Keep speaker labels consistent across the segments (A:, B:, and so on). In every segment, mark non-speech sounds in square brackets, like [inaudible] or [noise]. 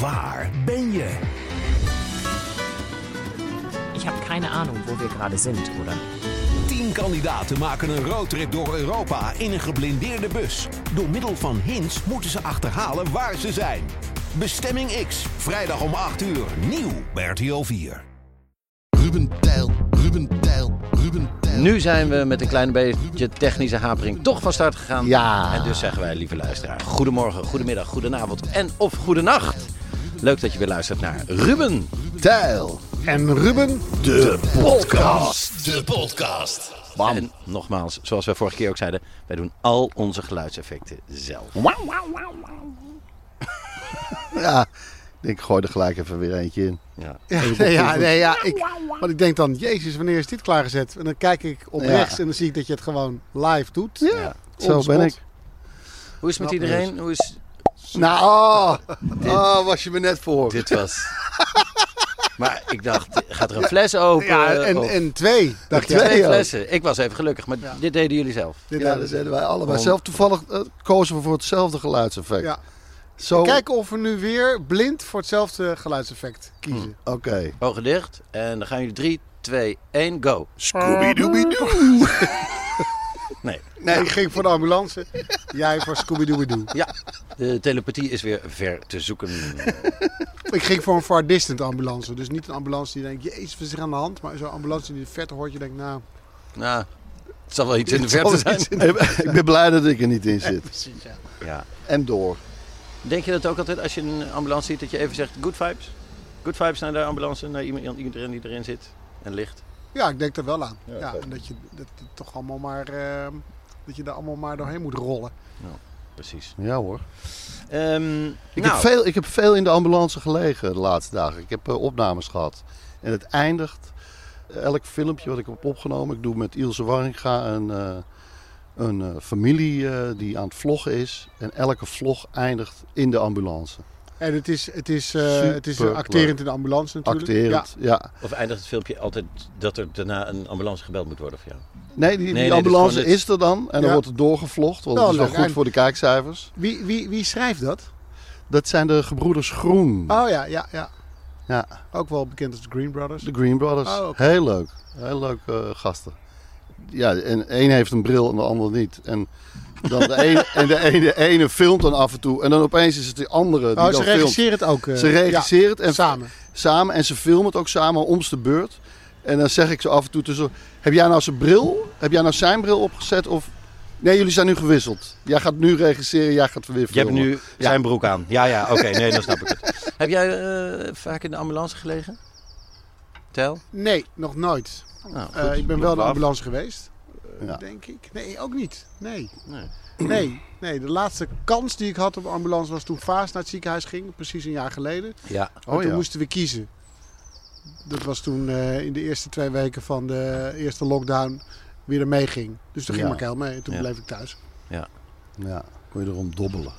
A: Waar ben je?
B: Ich habe keine Ahnung, wo wir gerade sind, oder?
A: Tien kandidaten maken een roadtrip door Europa in een geblindeerde bus. Door middel van hints moeten ze achterhalen waar ze zijn. Bestemming X, vrijdag om 8 uur, nieuw bij RTL 4.
C: Ruben Tijl, Ruben Tijl, Ruben Tijl.
D: Nu zijn we met een klein beetje technische hapering toch van start gegaan.
C: Ja.
D: En dus zeggen wij, lieve luisteraar, goedemorgen, goedemiddag, goedenavond en of goedenacht. Leuk dat je weer luistert naar Ruben.
C: Tijl. En Ruben, de podcast. De podcast. Bam.
D: En nogmaals, zoals wij vorige keer ook zeiden, wij doen al onze geluidseffecten zelf.
C: Ja, ik gooi er gelijk even weer eentje in.
D: Ja.
E: Ja, nee, ja, nee, ja. Ik, want ik denk dan, jezus, wanneer is dit klaargezet? En dan kijk ik op
C: Ja.
E: rechts en dan zie ik dat je het gewoon live doet.
C: Ja, zo
E: On the
C: ben
E: spot.
C: ik.
D: Hoe is het met iedereen? Hoe is...
C: Nou, oh, [laughs] oh, was je me net voor.
D: Dit was... [laughs] Maar ik dacht, gaat er een fles open?
E: Ja, Eh, en,
D: Of
E: en twee, dacht
C: Twee.
E: je.
D: twee
C: ook.
D: flessen. Ik was even gelukkig, maar dit deden jullie zelf.
E: Dit
C: Ja,
E: hadden
C: dat
E: ze.
C: zeiden wij allebei.
D: Om-
C: Zelf toevallig eh, kozen we voor hetzelfde geluidseffect.
E: Ja.
C: Zo,
E: Kijken of we nu weer blind voor hetzelfde geluidseffect kiezen.
C: oké.
D: Ogen dicht. En dan gaan jullie 3, 2, 1, go.
C: Scooby-dooby-doo.
D: Nee.
C: Hm.
E: Nee, ik ging voor de ambulance. Jij voor Scooby-Dooby-Doo.
D: Ja, de telepathie is weer ver te zoeken.
E: Ik ging voor een far distant ambulance. Dus niet een ambulance die denkt, jezus, we zijn aan de hand. Maar zo'n ambulance die in de verte hoort, je denkt, nou...
D: nou, het zal wel iets
E: [laughs]
D: in de verte zijn.
C: [laughs] ik ben blij dat ik er niet in zit.
E: Precies, ja.
D: Ja.
C: En door.
D: Denk je dat ook altijd als je een ambulance ziet, dat je even zegt good vibes? Good vibes naar de ambulance, naar iemand- iedereen die erin zit en ligt.
E: Ja, ik denk er wel aan. Ja,
C: oké.
E: en dat je dat het toch allemaal maar... ehm, dat je daar allemaal maar doorheen moet rollen.
D: Precies.
C: Ja hoor.
D: Ehm,
C: Ik,
D: nou,
C: heb veel, ik heb veel in de ambulance gelegen de laatste dagen. Ik heb eh, opnames gehad. En het eindigt eh, elk filmpje wat ik heb opgenomen. Ik doe met Ilse Warringa een, eh, een eh, familie eh, die aan het vloggen is. En elke vlog eindigt in de ambulance.
E: En het is, het is, eh, het is
C: Superleuk.
E: acterend in de ambulance natuurlijk.
C: Acterend. Ja.
D: Of eindigt het filmpje altijd dat er daarna een ambulance gebeld moet worden voor jou?
C: Nee, die, die
D: nee, dit is
C: ambulance
D: gewoon
C: is,
D: het-
C: er dan. En dan
E: Ja.
C: wordt er doorgevlogd. Want
E: Nou,
C: het is wel
E: leuk.
C: goed
E: En-
C: voor de kijkcijfers.
E: Ja. Wie, wie, wie schrijft dat?
C: Dat zijn de gebroeders Groen.
E: Oh ja, ja, ja.
C: Ja,
E: Ook wel bekend als de Green Brothers.
C: de Green Brothers.
E: Oh, oké.
C: Heel leuk. Heel leuk eh, gasten. Ja, en één heeft een bril en de ander niet. En,
E: [laughs]
C: dan de, ene, en de, ene, de ene filmt dan af en toe. En dan opeens is het die andere die
E: oh, ze
C: dan filmt.
E: regisseren het ook. eh,
C: Ze regisseren het
E: ja,
C: en
E: samen.
C: samen. En ze filmen het ook samen om's de beurt. En dan zeg ik zo af en toe tussen... Heb jij nou zijn bril? Heb jij nou zijn bril opgezet? Of... Nee, jullie zijn nu gewisseld. Jij gaat nu regisseren, jij gaat weer
D: Je hebt
C: filmen.
D: nu zijn broek aan. Ja, ja, oké, nee, dan snap ik het. Heb jij eh, vaak in de ambulance gelegen? Tel?
E: Nee, nog nooit.
D: Nou, goed.
E: Eh, ik ben wel
D: Nog
E: in de
D: af.
E: ambulance geweest. eh,
C: Ja.
E: Denk ik. Nee, ook niet. Nee.
D: Nee.
E: nee. Nee, de laatste kans die ik had op ambulance was toen Vaas naar het ziekenhuis ging. Precies een jaar geleden.
D: Ja,
E: Maar
C: Oh,
E: toen
C: ja.
E: moesten we kiezen. Dat was toen eh, in de eerste twee weken van de eerste lockdown weer er mee ging. Dus toen ging
C: Ja.
E: Markel mee en toen
D: Ja.
E: bleef ik thuis.
D: ja.
C: Ja, kon je erom dobbelen.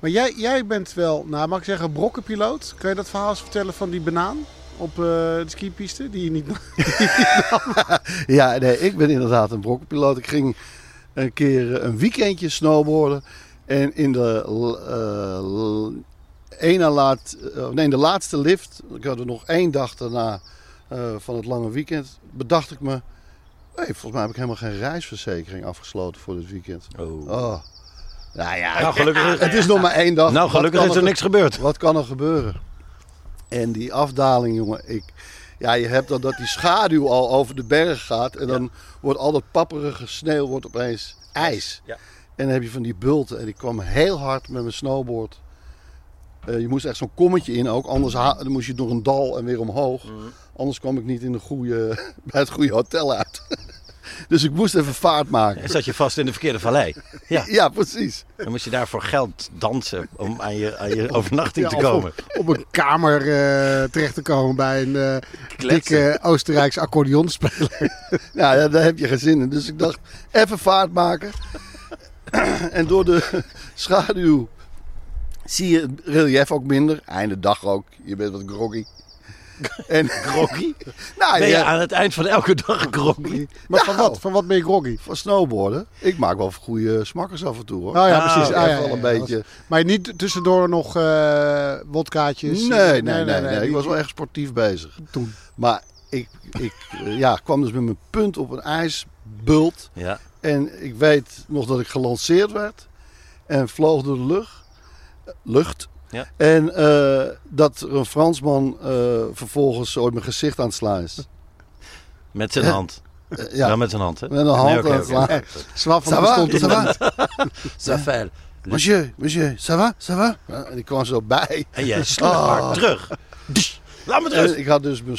E: Maar jij, jij bent wel, nou mag ik zeggen, brokkenpiloot. Kan je dat verhaal eens vertellen van die banaan op eh, de skipiste? Die je niet... [laughs]
C: Ja, nee, ik ben inderdaad een brokkenpiloot. Ik ging een keer eh, een weekendje snowboarden. En in de, eh, l- ene laat, eh, nee, de laatste lift, ik had er nog één dag daarna eh, van het lange weekend, bedacht ik me... hey, volgens mij heb ik helemaal geen reisverzekering afgesloten voor dit weekend.
D: Oh.
C: Oh. Nou ja,
D: Nou, gelukkig,
C: het is nog maar één dag.
D: nou, gelukkig
C: Wat
D: is
C: kan
D: er niks gebeurd.
C: wat kan er gebeuren? En die afdaling, jongen, ik. Ja, je hebt dan dat die schaduw al over de berg gaat. En dan wordt al dat papperige sneeuw wordt opeens ijs.
D: Ja.
C: En dan heb je van die bulten. En ik kwam heel hard met mijn snowboard. Eh, je moest echt zo'n kommetje in ook. Anders ha- dan moest je door
D: Mhm.
C: [laughs] een dal en weer omhoog. Anders kwam ik niet in de goede, bij het goede hotel uit. [laughs] Dus ik moest even vaart maken.
D: En zat je vast in de verkeerde vallei. Ja.
C: Ja, precies.
D: Dan moest je daarvoor geld dansen om aan je, aan je overnachting
E: Ja,
D: te
E: of
D: komen.
E: Om, om een kamer eh, terecht te komen bij een eh,
D: Kletsen.
E: dikke Oostenrijkse accordeonspeler.
C: Nou, [laughs] ja, daar heb je geen zin in. Dus ik dacht, even vaart maken. [clears throat] en door de [laughs] schaduw zie je het relief ook minder. Einde dag ook. Je bent wat groggy. En, groggy? [laughs] Nou,
D: Ben je
C: ja,
D: aan het eind van elke dag groggy?
E: Maar van
C: Nou.
E: wat? Van wat ben je groggy?
C: van snowboarden. Ik maak wel goede smakkers af en toe hoor.
E: Oh ja,
D: Ah,
E: precies.
D: oké.
E: Ah, ja,
C: Even
E: ja,
C: wel een
E: ja,
C: beetje.
E: dat was- Maar niet tussendoor nog eh wodkaatjes?
C: Nee, nee, nee, nee,
E: die-
C: Ik was wel echt sportief bezig.
E: Toen.
C: Maar ik, ik eh, ja, kwam dus met mijn punt op een ijsbult.
D: Ja.
C: En ik weet nog dat ik gelanceerd werd. En vloog door de lucht. lucht.
D: Ja.
C: En eh, dat er een Fransman eh, vervolgens ooit mijn gezicht aan het slaan is.
D: Met zijn hand.
C: Eh,
D: Ja.
C: ja,
D: met zijn hand, hè?
C: met een hand
D: Nee, oké,
C: aan het
D: oké.
C: slaan.
E: Zwaar
C: Ça
E: van
C: va,
E: bestond.
C: ça va?
D: Ça fait.
C: Monsieur, monsieur, ça va, ça va? En ik kwam zo bij.
D: En
C: [laughs]
D: jij sloeg
C: Ah.
D: maar terug. Dus, Laat me terug.
C: En ik had dus mijn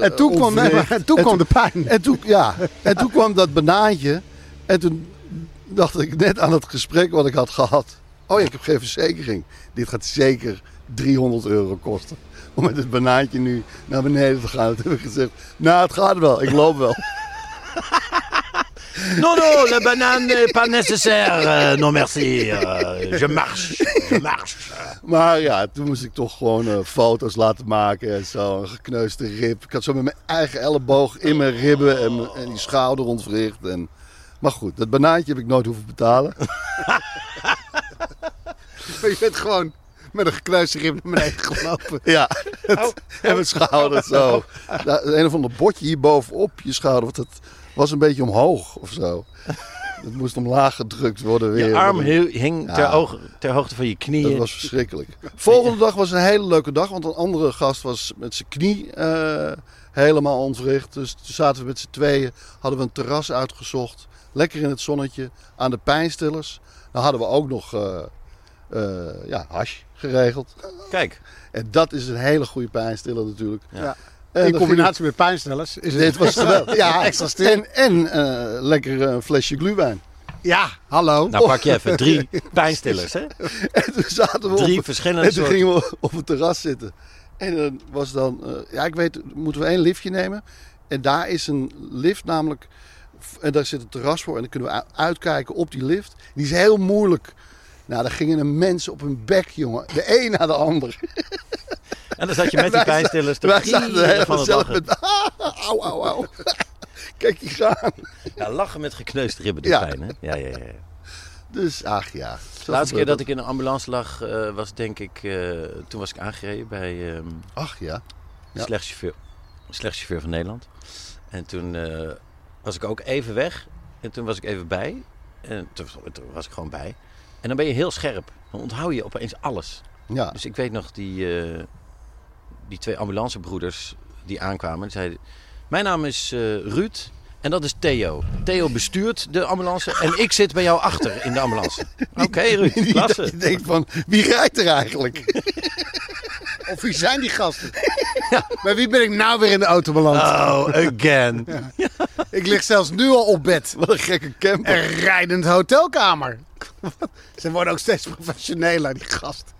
E: [laughs] En toen,
C: eh,
E: kwam, nee,
C: onverricht.
E: maar toen kwam de pijn.
C: En toen, ja, en toen kwam dat banaantje. En toen dacht ik net aan het gesprek wat ik had gehad. Oh ja, ik heb geen verzekering. Dit gaat zeker 300 euro kosten. Om met het banaantje nu naar beneden te gaan. Toen heb ik gezegd, nou het gaat wel, ik loop wel.
D: Non, non, la banane n'est pas nécessaire.
C: [laughs]
D: Eh, non, merci. Eh, je marche. Je marche.
C: Maar ja, toen moest ik toch gewoon eh, foto's laten maken en zo. Een gekneusde rib. Ik had zo met mijn eigen elleboog in mijn ribben en, mijn- en die schouder ontwricht. En... Maar goed, dat banaantje heb ik nooit hoeven betalen.
E: [laughs] Je bent gewoon met een gekruiste rib naar beneden gelopen. [laughs] Oh.
C: Ja, het, [laughs] en mijn schouder zo. Ja, een of ander botje hierbovenop je schouder, want het was een beetje omhoog of zo. Het moest omlaag gedrukt worden weer.
D: Je arm hu- hing ter,
C: Ja.
D: oog- ter hoogte van je
C: Dat
D: knieën.
C: was verschrikkelijk. Volgende dag was een hele leuke dag, want een andere gast was met zijn knie eh, helemaal ontwricht. Dus toen zaten we met z'n tweeën, hadden we een terras uitgezocht. Lekker in het zonnetje, aan de pijnstillers. Dan hadden we ook nog eh eh, ja, hash geregeld.
D: Kijk,
C: En dat is een hele goede pijnstiller natuurlijk.
E: Ja.
C: En
E: In
C: dan ging het-
E: combinatie met pijnstellers is het...
C: Dit was
E: [laughs]
C: geweldig. Ja,
E: Extra stil.
C: en en eh, lekker een flesje gluwijn.
E: Ja, hallo.
D: nou pak je even
C: [laughs]
D: drie pijnstillers, hè?
C: En toen zaten we
D: Drie
C: op,
D: verschillende
C: en toen
D: soorten.
C: gingen we op het terras zitten. En dan was dan, eh, ja ik weet, moeten we één liftje nemen. En daar is een lift namelijk, en daar zit een terras voor. En dan kunnen we u- uitkijken op die lift. Die is heel moeilijk. Nou, daar gingen de mensen op hun bek, jongen. De een na de ander.
D: En dan zat je met die
C: Wij za-
D: pijnstillers te
C: Wij zaten de
D: gieren
C: hele
D: van het
C: zelf
D: lachen.
C: met, [laughs] au, au, au. [laughs] Kijk je gaan.
D: Ja, lachen met gekneusde ribben doet
C: Ja.
D: pijn, hè? Ja, ja, ja. ja.
C: Dus, ach ja.
D: De laatste
C: Zo
D: keer
C: gebeurt
D: dat ik in een ambulance lag, eh, was denk ik... eh, toen was ik aangereden bij ehm
C: Ach ja. Ja.
D: slecht, chauffeur, slecht chauffeur van Nederland. En toen eh, was ik ook even weg. En toen was ik even bij. En toen, toen was ik gewoon bij. En dan ben je heel scherp. Dan onthoud je opeens alles.
C: Ja.
D: Dus ik weet nog die, eh, die twee ambulancebroeders die aankwamen. Die zeiden, mijn naam is eh, Ruud en dat is Theo. Theo bestuurt de ambulance en ik zit bij jou achter in de [laughs] ambulance. Oké
C: [laughs]
D: Ruud, klasse.
C: Je denkt van, wie rijdt er eigenlijk?
E: [laughs] Of wie zijn die
C: [laughs]
E: gasten? Bij wie ben ik nou weer in de auto beland?
D: Oh, again.
E: [laughs] Ik lig zelfs nu al op bed.
C: Wat een gekke camper.
E: Een rijdend hotelkamer. [laughs] Ze worden ook steeds professioneler, die gast.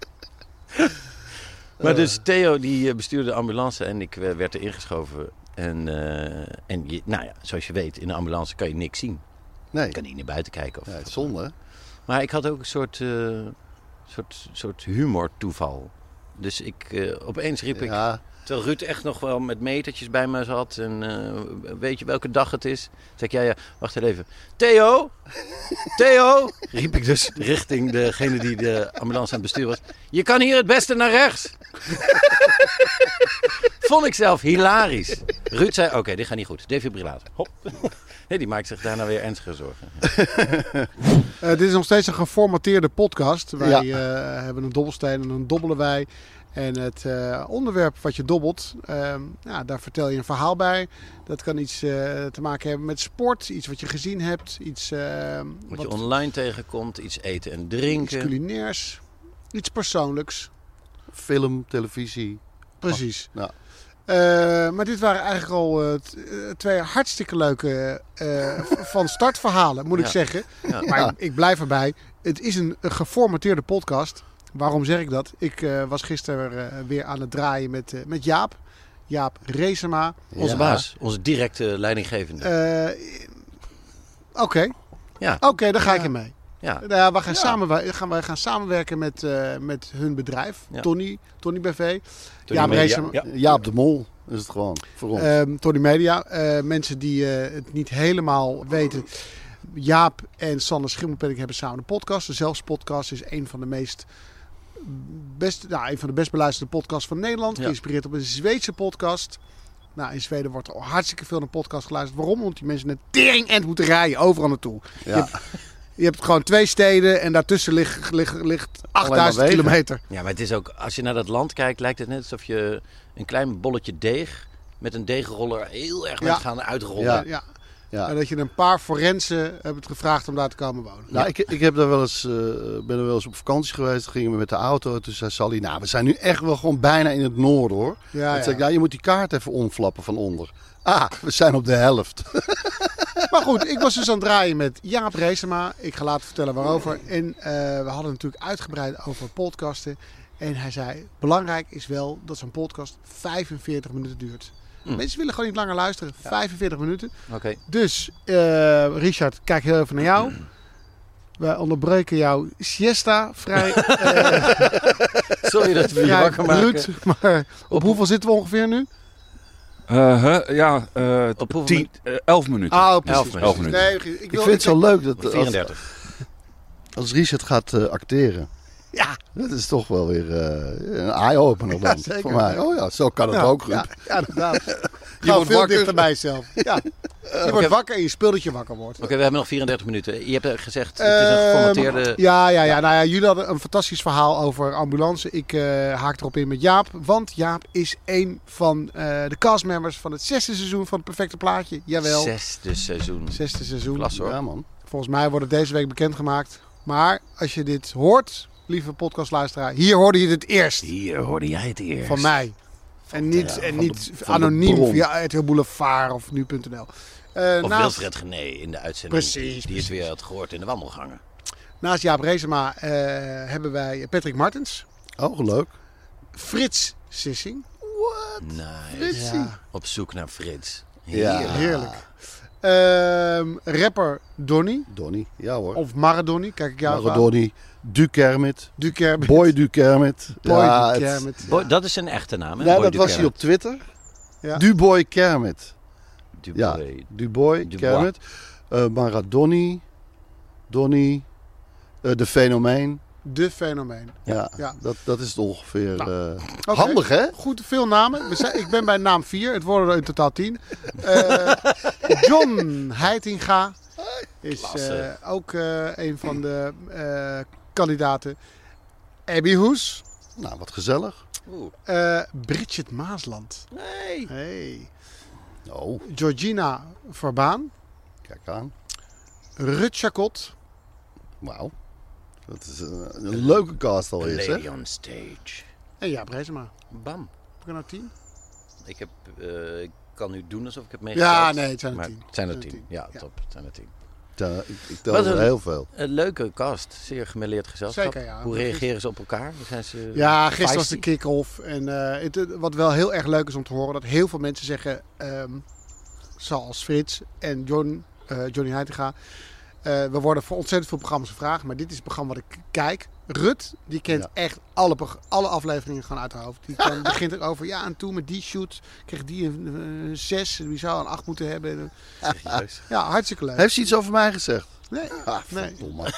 D: Maar dus Theo die eh, bestuurde de ambulance en ik eh, werd erin geschoven. En, eh, en je, nou ja, zoals je weet, in de ambulance kan je niks zien.
C: Nee,
D: Je kan niet naar buiten kijken. Of,
C: ja, het is zonde. hè?
D: Maar ik had ook een soort, eh soort, soort humortoeval. Dus ik, eh, opeens riep ik,
C: Ja,
D: terwijl Ruud echt nog wel met metertjes bij me zat. En eh, weet je welke dag het is? Zeg ik, ja, ja, wacht even. Theo! Theo! Riep ik dus richting degene die de ambulance aan het bestuur was. Je kan hier het beste naar rechts. Vond ik zelf hilarisch. Ruud zei, oké, dit gaat niet goed. Defibrillator. Hop. [laughs] Nee, die maakt zich daarna weer ernstige zorgen.
E: Eh, dit is nog steeds een geformateerde podcast. Wij
C: Ja.
E: eh, hebben een dobbelsteen en dan dobbelen wij. En het eh, onderwerp wat je dobbelt, ehm, ja, daar vertel je een verhaal bij. Dat kan iets eh, te maken hebben met sport, iets wat je gezien hebt, iets, ehm,
D: Wat je
E: wat-
D: online tegenkomt, iets eten en
E: iets
D: drinken.
E: culinairs, iets persoonlijks.
C: film, televisie.
E: Precies.
C: Ja.
E: Eh, maar dit waren eigenlijk al eh, t- eh, twee hartstikke leuke eh, v- van startverhalen, moet ik
D: Ja.
E: zeggen.
D: Ja.
E: Maar ik, ik blijf erbij. Het is een, een geformateerde podcast. Waarom zeg ik dat? Ik eh, was gisteren eh, weer aan het draaien met, eh, met Jaap. Jaap Reesema.
D: Onze
C: Ja.
D: baas, onze directe leidinggevende.
E: Eh, Oké,
D: ja,
E: oké, daar ga ik in mee.
D: ja.
E: Nou ja, we gaan, samen, wij gaan, wij gaan samenwerken met, eh, met hun bedrijf.
D: Ja.
E: Tony, Tony BV.
D: Tony
E: Jaap
D: Media.
E: Reesema.
D: Ja.
C: Jaap de Mol is het gewoon voor ons.
E: Ehm, Tony Media. eh, mensen die eh, het niet helemaal weten. Jaap en Sanne Schimmelpenning hebben samen een podcast. De Zelfs podcast is een van de meest best, nou, een van de best beluisterde podcasts van Nederland.
D: Ja.
E: Geïnspireerd op een Zweedse podcast. Nou, in Zweden wordt er hartstikke veel naar podcast geluisterd. Waarom? Omdat die mensen een tering end moeten rijden overal naartoe. Je,
C: ja.
E: hebt, je hebt gewoon twee steden en daartussen ligt, ligt, ligt
C: maar
E: 8000
C: wegen.
E: kilometer.
D: Ja, maar het is ook, als je naar dat land kijkt, lijkt het net alsof je een klein bolletje deeg met een deegroller heel erg
E: Ja.
D: bent gaan uitrollen.
C: Ja.
E: Ja. Ja.
C: ja.
E: En dat je een paar forensen hebt gevraagd om daar te komen wonen.
C: Nou, ik, ik heb daar wel eens, eh, ben er wel eens op vakantie geweest. Gingen we met de auto. Toen zei Sally, nou, we zijn nu echt wel gewoon bijna in het noorden hoor.
E: Ja,
C: Toen
E: ja.
C: zei ik, nou, je moet die kaart even omflappen van onder. Ah, we zijn op de helft.
E: Maar goed, ik was dus aan het draaien met Jaap Reesema. Ik ga later vertellen waarover. En eh, we hadden natuurlijk uitgebreid over podcasten. En hij zei, belangrijk is wel dat zo'n podcast 45 minuten duurt. Mensen willen gewoon niet langer luisteren. 45 minuten.
D: Oké.
E: Dus, eh, Richard, kijk heel even naar jou. Wij onderbreken jouw siesta vrij, eh,
D: [laughs] Sorry dat we je
E: vrij
D: wakker maken.
E: bruut. Maar op hoeveel zitten we ongeveer nu?
F: Eh, hè? ja, eh
D: Op hoeveel
F: tien,
D: minuut?
F: eh, elf minuten.
E: Ah,
D: precies,
F: elf, elf minuten.
E: Nee, ik,
C: Ik
E: wil-
C: vind het zo leuk dat als,
D: 34.
C: als Richard gaat eh, acteren.
E: Ja,
C: Dat is toch wel weer eh, een eye-opener dan.
E: [laughs] Ja, zeker.
C: Voor mij. Oh ja, zo kan het
E: Ja,
C: ook.
E: Ja,
C: Ruud.
E: ja [laughs] inderdaad. Je
C: wordt
E: wordt veel
C: wakker.
E: dichter bij jezelf. Ja. Je wordt wakker en je speelt dat je wakker wordt.
D: Oké, we hebben nog 34 minuten. Je hebt eh, gezegd, het is een geformateerde...
E: Ehm, ja, ja, ja. Nou ja, jullie hadden een fantastisch verhaal over ambulance. Ik eh, haak erop in met Jaap. Want Jaap is een van eh, de castmembers van het zesde seizoen van het Perfecte Plaatje. Jawel.
D: Zesde seizoen.
E: Zesde seizoen.
D: Klasse hoor.
C: Ja, man.
E: Volgens mij wordt het deze week bekendgemaakt. Maar als je dit hoort, lieve podcastluisteraar, hier hoorde je het eerst.
D: Hier hoorde jij het eerst.
E: Van mij. En niet, en niet
C: de
E: anoniem
C: bron.
E: via het heel boulevard of nu.nl. Eh,
D: Of
E: naast,
D: Wilfred Gené in de uitzending.
E: Precies,
D: Die het weer had gehoord in de wandelgangen.
E: naast Jaap Reesema eh, hebben wij Patrick Martens,
C: Oh, leuk.
E: Frits Sissing.
D: Nice. Op zoek naar Frits.
C: Ja.
D: Heerlijk.
E: Heerlijk. Ehm, rapper Donny,
C: Donnie. Ja hoor.
E: of Maradoni, kijk ik jou even aan.
C: Maradoni.
E: [laughs]
C: Dukermit.
E: Dukermit.
C: Boy Dukermit.
E: Boy
C: Ja, het-
E: Dukermit.
D: Boy, dat is zijn echte naam, hè?
C: Nou,
D: Boy
C: dat was hij
D: Ducati.
C: op Twitter.
E: Ja.
C: Duboy Kermit. Ja,
D: Dubois.
C: Duboy,
D: Dubois.
C: Kermit, eh, Maradoni, Donny, eh, De Fenomeen.
E: De fenomeen.
C: Ja,
E: Ja. Nou.
C: Dat, dat is het ongeveer. eh,
E: Oké.
C: Handig hè?
E: Goed, veel namen. We zijn, ik ben bij naam 4, het worden er in totaal 10. Eh, John Heitinga is
D: Klasse.
E: eh, ook eh, een van de eh, kandidaten. Abby Hoes,
C: Nou, wat gezellig.
D: Oeh.
E: eh, Bridget Maasland,
D: Nee.
E: hey.
C: Oh,
E: Georgina Verbaan,
C: kijk aan.
E: Rut Chacot,
C: Wauw. Dat is eh, een, leuke cast al
D: Lady
C: is hè?
D: on stage.
E: en ja, Brezema.
D: Bam.
E: Heb ik er nou 10?
D: Ik, heb, eh, ik kan nu doen alsof ik het meegeteld.
E: Ja, nee, het zijn er
D: maar
E: 10.
D: het zijn er
E: Het zijn er
D: tien. Ja,
E: Ja.
D: top. Het zijn er tien.
C: Ja, ik, ik tel
D: Wat
C: er
D: een-
C: heel veel.
D: Een leuke cast. Zeer gemêleerd gezelschap.
E: Zeker, ja.
D: Hoe reageren ze op elkaar? Zijn ze
E: Ja, gisteren was de
D: feisty?
E: kick-off. En eh, het, het- wat wel heel erg leuk is om te horen, dat heel veel mensen zeggen, ehm, zoals Frits en John, eh, Johnny Heitinga, eh, we worden voor ontzettend veel programma's gevraagd, maar dit is het programma wat ik kijk. Rut, die kent
C: Ja.
E: echt alle, prog- alle afleveringen gewoon uit haar hoofd. Die kan, begint erover, ja, en toen met die shoot kreeg die een, een 6, en die zou een 8 moeten hebben. eh, Ja, hartstikke leuk.
C: Heeft ze iets over mij gezegd?
E: Nee,
C: Ah,
E: nee. [laughs]
C: verdomme.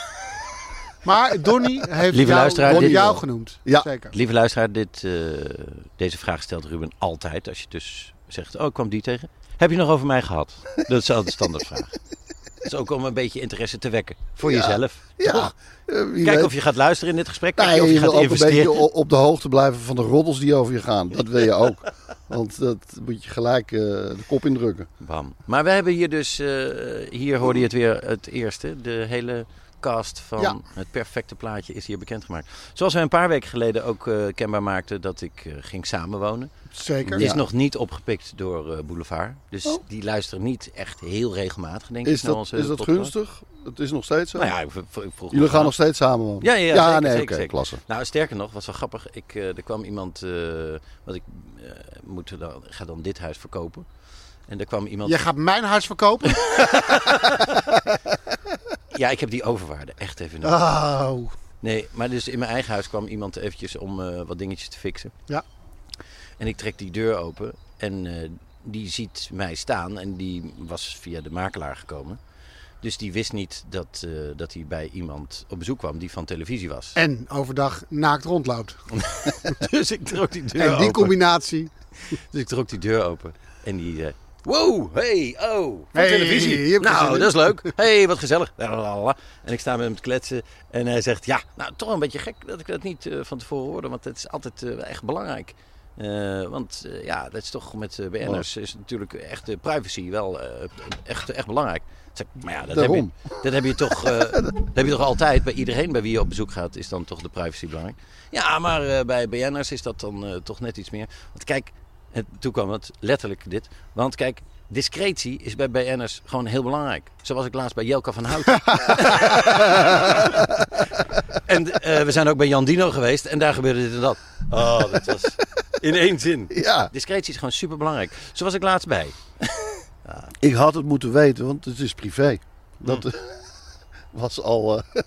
E: Maar Donny heeft
D: Lieve
E: jou,
D: luisteraar,
E: Donnie
D: dit-
E: jou genoemd.
C: Ja.
E: Zeker.
D: Lieve luisteraar, dit, eh, deze vraag stelt Ruben altijd. Als je dus zegt, oh, ik kwam die tegen. Heb je nog over mij gehad? Dat is altijd de standaardvraag. Het is ook om een beetje interesse te wekken. Voor jezelf.
C: Ja.
D: Toch?
C: eh, wie
D: Kijk
C: weet. Nou,
D: of je gaat luisteren in dit gesprek. Kijk
C: Nee,
D: of je
C: je wil
D: gaat
C: ook een beetje
D: investeren.
C: o- op de hoogte blijven van de roddels die over je gaan. Dat wil je
E: [laughs]
C: ook. Want dat moet je gelijk eh, de kop indrukken.
D: Bam. Maar we hebben hier dus, eh, hier hoorde je het weer het eerste. De hele podcast van
E: Ja.
D: Het Perfecte Plaatje is hier bekendgemaakt. Zoals wij een paar weken geleden ook eh, kenbaar maakten dat ik eh, ging samenwonen.
E: Zeker.
D: Het is nog niet opgepikt door eh, Boulevard. Dus die luisteren niet echt heel regelmatig, denk
C: Oh. Is
D: ik. naar
C: dat,
D: onze
C: is dat
D: Nou, eh, podcast.
C: gunstig? Het is nog steeds zo?
D: Nou ja, ik, v- v- ik vroeg
C: Jullie
D: nog
C: gaan
D: aan.
C: nog steeds samen wonen?
D: Ja, ja, ja, zeker,
C: nee,
D: zeker,
C: oké,
D: zeker.
C: klasse.
D: Nou, sterker nog, was wel grappig. Ik, eh, er kwam iemand, eh want ik eh, moet dan, ga dan dit huis verkopen. En er kwam iemand...
E: Jij gaat mijn huis verkopen?
D: Ja, ik heb die overwaarde echt
C: [laughs]
D: even nodig.
E: Oh.
D: Nee, maar dus in mijn eigen huis kwam iemand eventjes om eh, wat dingetjes te fixen.
E: Ja.
D: En ik trek die deur open en eh, die ziet mij staan en die was via de makelaar gekomen. Dus die wist niet dat, eh, dat hij bij iemand op bezoek kwam die van televisie was.
E: En overdag naakt
D: [laughs]
E: rondloopt.
D: Dus ik trok die deur
E: En die
D: open.
E: combinatie.
D: Dus ik trok die deur open en die zei... Wow, hey, oh, van
E: Hey, je
D: televisie.
E: hebt gezien,
D: Nou,
E: hè?
D: dat is leuk. [laughs] hey, wat gezellig. Lalalala. En ik sta met hem te kletsen en hij zegt... Ja, nou, toch een beetje gek dat ik dat niet eh, van tevoren hoorde, want het is altijd eh, echt belangrijk. Eh, want eh, ja, dat is toch met eh, BN'ers is natuurlijk echt de privacy wel eh, echt, echt belangrijk. Ik Zeg, maar ja, dat heb, je,
C: Daarom.
D: dat, heb je toch, eh, dat heb je toch altijd. Bij iedereen bij wie je op bezoek gaat is dan toch de privacy belangrijk. Ja, maar eh, bij BN'ers is dat dan eh, toch net iets meer. Want kijk, en toen kwam het letterlijk dit. Want kijk, discretie is bij BN'ers gewoon heel belangrijk. Zo was ik laatst bij Jelka van Houten. en eh, we zijn ook bij Jan Dino geweest en daar gebeurde dit en dat. Oh, dat was in één zin.
C: Ja,
D: Discretie is gewoon superbelangrijk. Zo was ik laatst bij.
C: ik had het moeten weten, want het is privé. Dat eh, [laughs] was al... eh,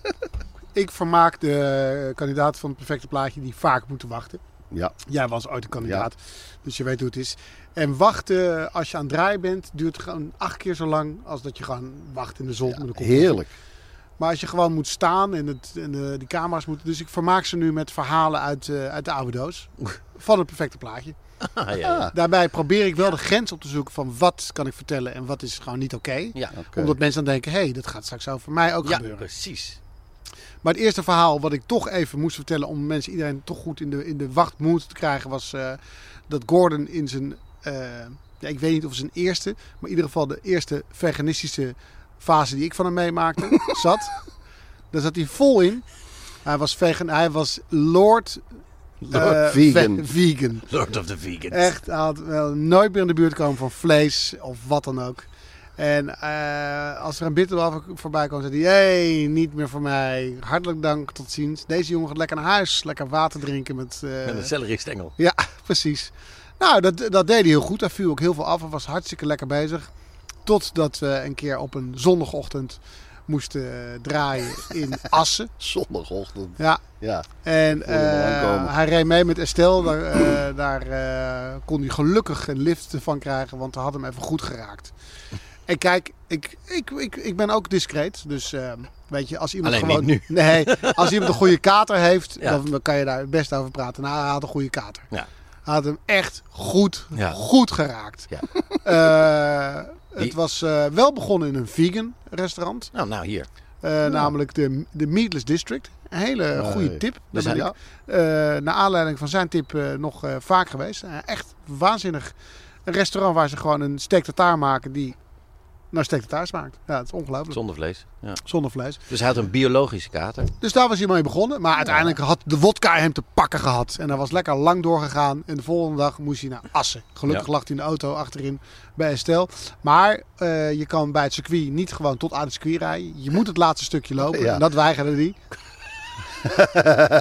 E: Ik vermaak de kandidaat van het perfecte plaatje die vaak moeten wachten.
C: [laughs] ja,
E: Jij was ooit een kandidaat, dus je weet hoe het is. En wachten als je aan het draaien bent, duurt gewoon acht keer zo lang als dat je gewoon wacht in de zon. met een kop.
C: heerlijk.
E: Maar als je gewoon moet staan en, het, en eh, die camera's moeten... Dus ik vermaak ze nu met verhalen uit, eh, uit de oude
D: [laughs]
E: doos. Van het perfecte plaatje.
D: Ah, ja, ja.
E: Daarbij probeer ik wel de grens op te zoeken van wat kan ik vertellen en wat is gewoon niet oké.
D: Ja,
C: Oké.
E: Omdat mensen dan denken, hé, hey, dat gaat straks over mij ook
D: ja
E: gebeuren.
D: precies.
E: Maar het eerste verhaal wat ik toch even moest vertellen om mensen iedereen toch goed in de, in de wachtmoed te krijgen was eh, dat Gordon in zijn, eh, ja, ik weet niet of zijn eerste, maar in ieder geval de eerste veganistische fase die ik van hem meemaakte,
C: [laughs]
E: zat. Daar zat hij vol in. Hij was vegan, hij was Lord,
C: Lord
E: eh,
C: vegan.
E: ve- vegan.
D: Lord of the Vegans.
E: Echt, hij had wel nooit meer in de buurt komen van vlees of wat dan ook. En eh, als er een bitterbal voorbij kwam, zei hij: hey, niet meer voor mij. Hartelijk dank, tot ziens. Deze jongen gaat lekker naar huis, lekker water drinken met. eh,
D: Met een celery stengel.
E: ja, [laughs] precies. Nou, dat, dat deed hij heel goed. Hij viel ook heel veel af. Hij was hartstikke lekker bezig. Totdat we een keer op een zondagochtend moesten eh, draaien
D: [laughs]
E: in Assen.
C: Zondagochtend.
E: Ja,
C: Ja,
E: en
C: hem al
E: eh,
C: aankomen.
E: hij reed mee met Estelle. Daar, eh, daar eh, kon hij gelukkig een lift van krijgen, want hij had hem even goed geraakt. En kijk, ik, ik, ik, ik ben ook discreet. Dus eh, weet je, als iemand
D: Alleen
E: gewoon.
D: niet
E: Nee, als iemand een goede kater heeft,
D: Ja.
E: dan kan je daar het best over praten. Nou, hij had een goede kater.
D: Ja.
E: Hij had hem echt goed,
D: Ja.
E: goed geraakt.
D: Ja.
E: Eh, het
D: Die-
E: was eh, wel begonnen in een vegan restaurant.
D: Nou, nou hier.
E: Eh, Namelijk de, de Meatless District. Een hele goede tip. Daar ben
D: zijn-
E: ik eh, naar aanleiding van zijn tip eh, nog eh, vaak geweest. Eh, echt waanzinnig. Een restaurant waar ze gewoon een steak tartaar maken die naar steak tartaar smaakt. Ja, het is ongelooflijk.
D: Zonder vlees. Ja.
E: Zonder vlees.
D: Dus hij had een biologische kater.
E: Dus daar was hij mee begonnen. Maar uiteindelijk had de wodka hem te pakken gehad. En hij was lekker lang doorgegaan. En de volgende dag moest hij naar Assen. Gelukkig
D: Ja.
E: lag hij in de auto achterin bij Estelle. Maar eh, je kan bij het circuit niet gewoon tot aan het circuit rijden. Je moet het laatste stukje lopen.
C: Ja.
E: En dat weigerde
D: [laughs]
E: hij.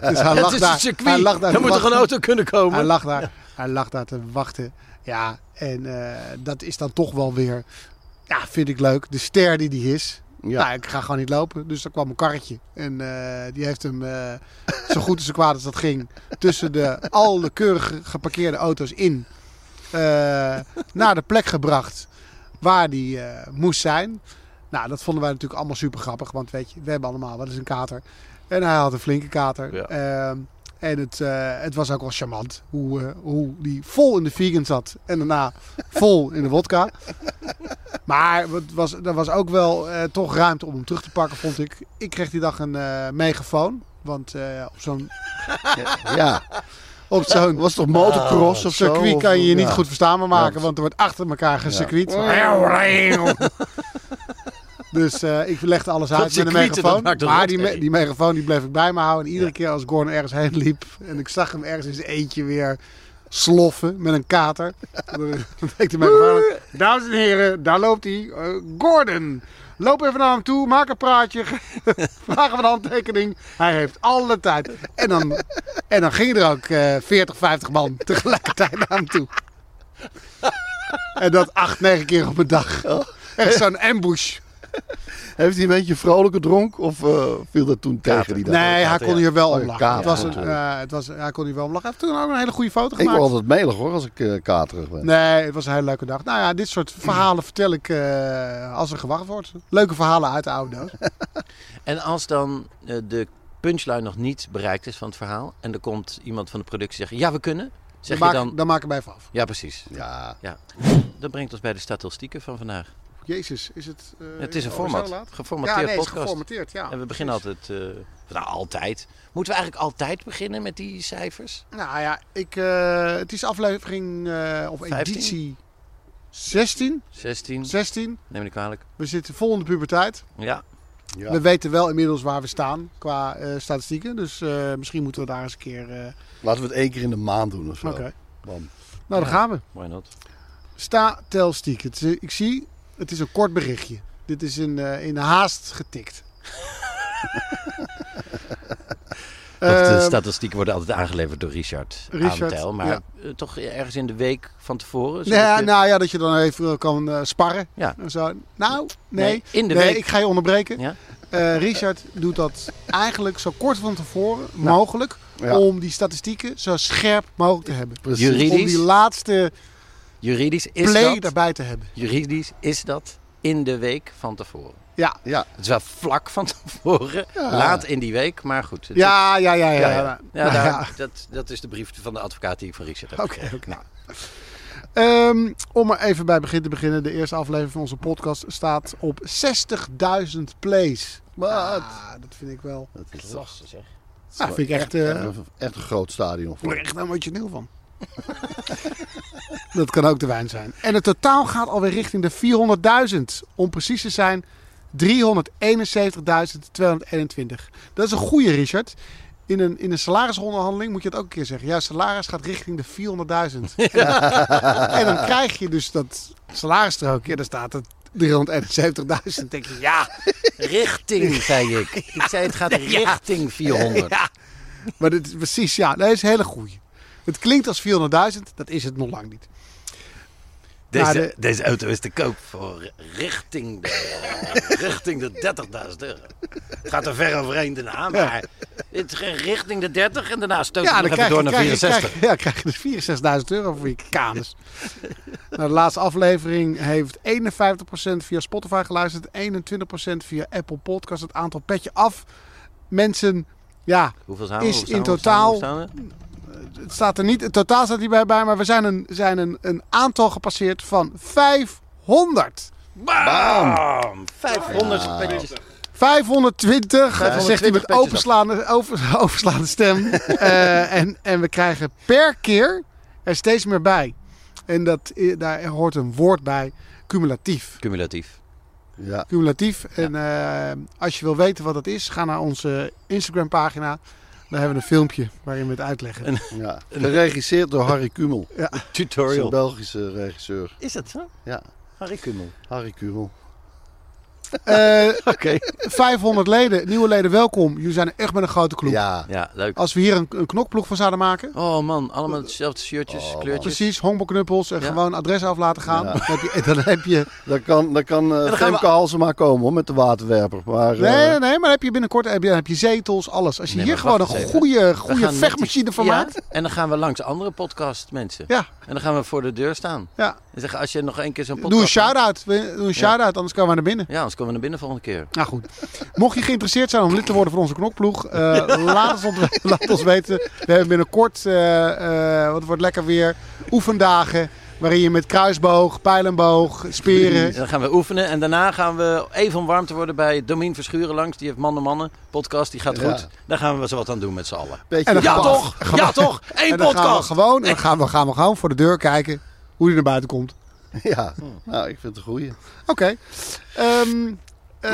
E: dus hij
D: Het
E: lag
D: is
E: daar.
D: een circuit.
E: Hij lag
D: dan
E: daar te
D: moet toch een
E: wachten.
D: auto kunnen komen?
E: Hij lag daar, hij lag daar te wachten. Ja, en eh, dat is dan toch wel weer... Ja, vind ik leuk. De ster die die is.
C: Ja.
E: Nou, ik ga gewoon niet lopen. Dus er kwam een karretje. En eh, die heeft hem, eh, [laughs] zo goed en zo kwaad als dat ging... tussen de, al de keurig geparkeerde auto's in... eh, naar de plek gebracht waar die eh, moest zijn. Nou, dat vonden wij natuurlijk allemaal super grappig. Want weet je, we hebben allemaal wel eens een kater. En hij had een flinke kater.
D: Ja.
E: Ehm, en het, eh, het was ook wel charmant hoe, eh, hoe die vol in de vegan zat. En daarna vol in de wodka. Maar het was, er was ook wel eh, toch ruimte om hem terug te pakken, vond ik. Ik kreeg die dag een eh, megafoon. Want eh, op zo'n
C: [laughs] ja.
E: op zo'n
C: Nou, Was toch motocross
E: op
C: of Oh, zo?
E: circuit
C: Of-
E: kan je je niet
C: ja.
E: goed verstaanbaar maken,
C: Ja.
E: [laughs] want er wordt achter elkaar gecircuit. Dus eh, ik legde alles
D: Dat
E: uit met een
D: circuit, dat
E: megafoon.
D: maakt een
E: Maar die,
D: rotherrie.
E: me- die megafoon die bleef ik bij me houden. En iedere keer als Gordon ergens heen liep en ik zag hem ergens in zijn eentje weer sloffen met een kater. [laughs] dan ik de megafoon aan. Dames en heren, daar loopt hij. Eh, Gordon, loop even naar hem toe, maak een praatje, [laughs] vraag hem een handtekening. Hij heeft alle tijd. En dan, en dan gingen er ook eh 40, 50 man tegelijkertijd naar hem toe. En dat acht, negen keer op een dag.
D: Oh.
E: Echt zo'n ambush.
C: Heeft hij een beetje vrolijke dronk of eh, viel dat toen
D: Kater.
C: tegen die dag?
E: Nee, hij kon hier wel om lachen.
C: kater
E: het was een,
C: natuurlijk.
E: eh, het was, hij kon hier wel om lachen. Hij heeft toen ook een hele goede foto
C: Ik word
E: gemaakt.
C: altijd melig hoor als ik eh, katerig ben.
E: Nee, het was een hele leuke dag. Nou ja, dit soort verhalen vertel ik eh, als er gewacht wordt. Leuke verhalen uit de oude doos.
D: En als dan eh, de punchline nog niet bereikt is van het verhaal... en er komt iemand van de productie zeggen... ja, we kunnen, zeg
E: maak,
D: je dan...
E: dan maken wij vanaf.
D: Ja, precies.
C: Ja,
D: Dat brengt ons bij de statistieken van vandaag.
E: Jezus, is het... eh,
D: het is een
E: al
D: format.
E: zo laat?
D: Geformateerd
E: Ja, nee, het is
D: podcast.
E: geformateerd. Ja.
D: En we beginnen altijd... eh, nou, altijd. Moeten we eigenlijk altijd beginnen met die cijfers?
E: Nou ja, ik, eh, het is aflevering eh, of
D: 15?
E: editie 16.
D: 16,
E: 16.
D: neem ik kwalijk.
E: We zitten vol in de puberteit.
D: Ja,
C: Ja.
E: We weten wel inmiddels waar we staan qua eh, statistieken. Dus eh, misschien moeten we daar eens een keer... eh,
C: laten we het één keer in de maand doen of zo.
E: Oké.
C: Bam.
E: Nou, daar gaan we.
D: why not?
E: Statelstiek. Het is- ik zie, het is een kort berichtje. Dit is in, eh, in haast getikt.
D: Want de
E: Ehm,
D: statistieken worden altijd aangeleverd door Richard,
E: Richard,
D: Aantel. Maar
E: ja.
D: eh, toch ergens in de week van tevoren?
E: nou,
D: zodat
E: ja,
D: je-
E: nou ja, dat je dan even kan eh, sparren.
D: Ja.
E: En Zo. Nou, nee.
D: Nee, in de
E: nee,
D: week.
E: ik ga je onderbreken.
D: Ja?
E: Eh, Richard doet dat eigenlijk zo kort van tevoren
D: Nou.
E: mogelijk.
C: Ja.
E: Om die statistieken zo scherp mogelijk te hebben.
C: Precies.
D: Juridisch?
E: Om die laatste
D: Juridisch is
E: play
D: dat...
E: daarbij te hebben.
D: Juridisch is dat in de week van tevoren.
E: Ja,
C: Ja,
D: Het is wel vlak van [laughs] tevoren, laat in die week, maar goed. Het is-
E: ja, ja, ja.
D: ja,
E: ja,
D: ja.
E: ja.
D: Ja,
E: Nou
D: daar-
E: ja.
D: Dat, dat is de brief van de advocaat die ik van Richard heb
E: Oké,
D: gekregen. Nou,
E: oké. Ehm, om er even bij het begin te beginnen. De eerste aflevering van onze podcast staat op 60.000 plays.
C: Wat?
E: Ah, dat vind ik wel.
C: dat is
D: Nou, klasse, zeg.
E: Dat vind ik echt. eh,
C: echt, een- echt een groot stadion.
E: word
C: Voor.
E: ik echt emotioneel van. [laughs] dat kan ook de wijn zijn. En het totaal gaat alweer richting de 400.000. Om precies te zijn, 371.221. Dat is een goede, Richard. In een, in een salarisonderhandeling moet je het ook een keer zeggen. Jouw salaris gaat richting de 400.000. En, dan- en dan krijg je dus dat salarisstrookje. En dan staat het 371.000. Dan denk je, ja.
D: Richting, zei ik. Ik zei het
E: [laughs]
D: gaat richting 400.
E: ja. [laughs] Maar dit is precies, ja. Dat is een hele goeie. Het klinkt als 400.000. Dat is het nog lang niet.
D: Deze,
E: Maar Nou, de-
D: deze auto is te koop voor richting de, [laughs] richting de 30.000 euro. Het gaat er ver overheen daarna, maar het is richting de 30 en daarna stoot
E: Ja,
D: het
E: dan
D: nog
E: krijg
D: even
E: je,
D: door naar
E: krijg je-
D: 64.
E: krijg je- ja, krijg je dus 64.000 euro voor je
D: [laughs]
E: kanus. nou, de laatste aflevering heeft 51% via Spotify geluisterd, 21% via Apple Podcast. Het aantal petje af mensen, ja,
D: Hoeveel zijn
E: Is
D: Hoeveel
E: in
D: zijn we? Hoeveel zijn we?
E: totaal-
D: Hoeveel zijn we?
E: het staat er niet, het totaal staat hierbij bij, maar we zijn een, zijn een, een aantal gepasseerd van 500.
D: Bam! 500 petjes.
E: 520, dat Eh, zegt hij met
D: 520
E: openslaande, over, [laughs] overslaande stem. Eh, en, en we krijgen per keer er steeds meer bij. En dat, i- daar hoort een woord bij, cumulatief.
D: Cumulatief.
C: Ja,
E: Cumulatief. En eh, als je wil weten wat dat is, ga naar onze Instagram pagina. Daar hebben we een filmpje waarin we het uitleggen.
C: ja. Geregisseerd door Harry Kumel. Dat is een
D: Tutorial.
C: Belgische regisseur.
D: Is dat zo?
C: Ja,
D: Harry Kummel.
C: Harry Kumel.
E: Eh,
C: [laughs] Oké.
E: 500 leden, nieuwe leden, welkom. Jullie zijn echt met een grote club.
C: Ja.
D: Ja, leuk.
E: Als we hier een, een knokploeg van zouden maken.
D: Oh man, allemaal hetzelfde shirtjes,
C: Oh, man.
D: kleurtjes.
E: Precies, honkbalknuppels en
D: Ja.
E: gewoon adres af laten gaan.
C: Ja.
E: Dan heb je- [laughs] dan heb je
C: Dan kan, dan kan eh,
D: dan gaan we-
C: Femke Halsema komen hoor, met de waterwerper. Maar, eh,
E: Nee, nee, nee, maar dan heb je binnenkort heb je, dan heb je zetels, alles. Als je
D: Nee,
E: hier
D: maar
E: gewoon een
D: wacht eens even.
E: goede,
D: We
E: goede
D: gaan met
E: vechtmachine
D: die-
E: van
D: Ja,
E: maakt.
D: En dan gaan we langs andere podcast mensen.
E: Ja,
D: En dan gaan we voor de deur staan.
E: ja.
D: En zeggen, als je nog één keer zo'n podcast...
E: Doe een shout-out. Doe een shout-out, anders komen we naar binnen.
D: Ja, anders komen we naar binnen volgende keer.
E: Nou goed. Mocht je geïnteresseerd zijn om lid te worden van onze
D: [laughs]
E: knokploeg, eh, laat, ons ont- laat ons weten. We hebben binnenkort, eh, eh, want het wordt lekker weer, oefendagen. Waarin je met kruisboog, pijlenboog,
D: En
E: speren.
D: dan gaan we oefenen. En daarna gaan we even om warm te worden bij Domien Verschuren langs. Die heeft Mannen Mannen podcast. Die gaat
C: Ja.
D: goed. Daar gaan we zo wat aan doen met z'n allen.
C: beetje
E: En dan
D: Ja
E: gaan we-
D: [laughs] toch? Ja toch? Eén
E: En dan gaan we
D: podcast.
E: gewoon, en dan gaan we, gaan we gewoon voor de deur kijken hoe die naar buiten komt.
C: Ja, nou, ik vind het een goeie.
E: Oké. Ehm, Eh,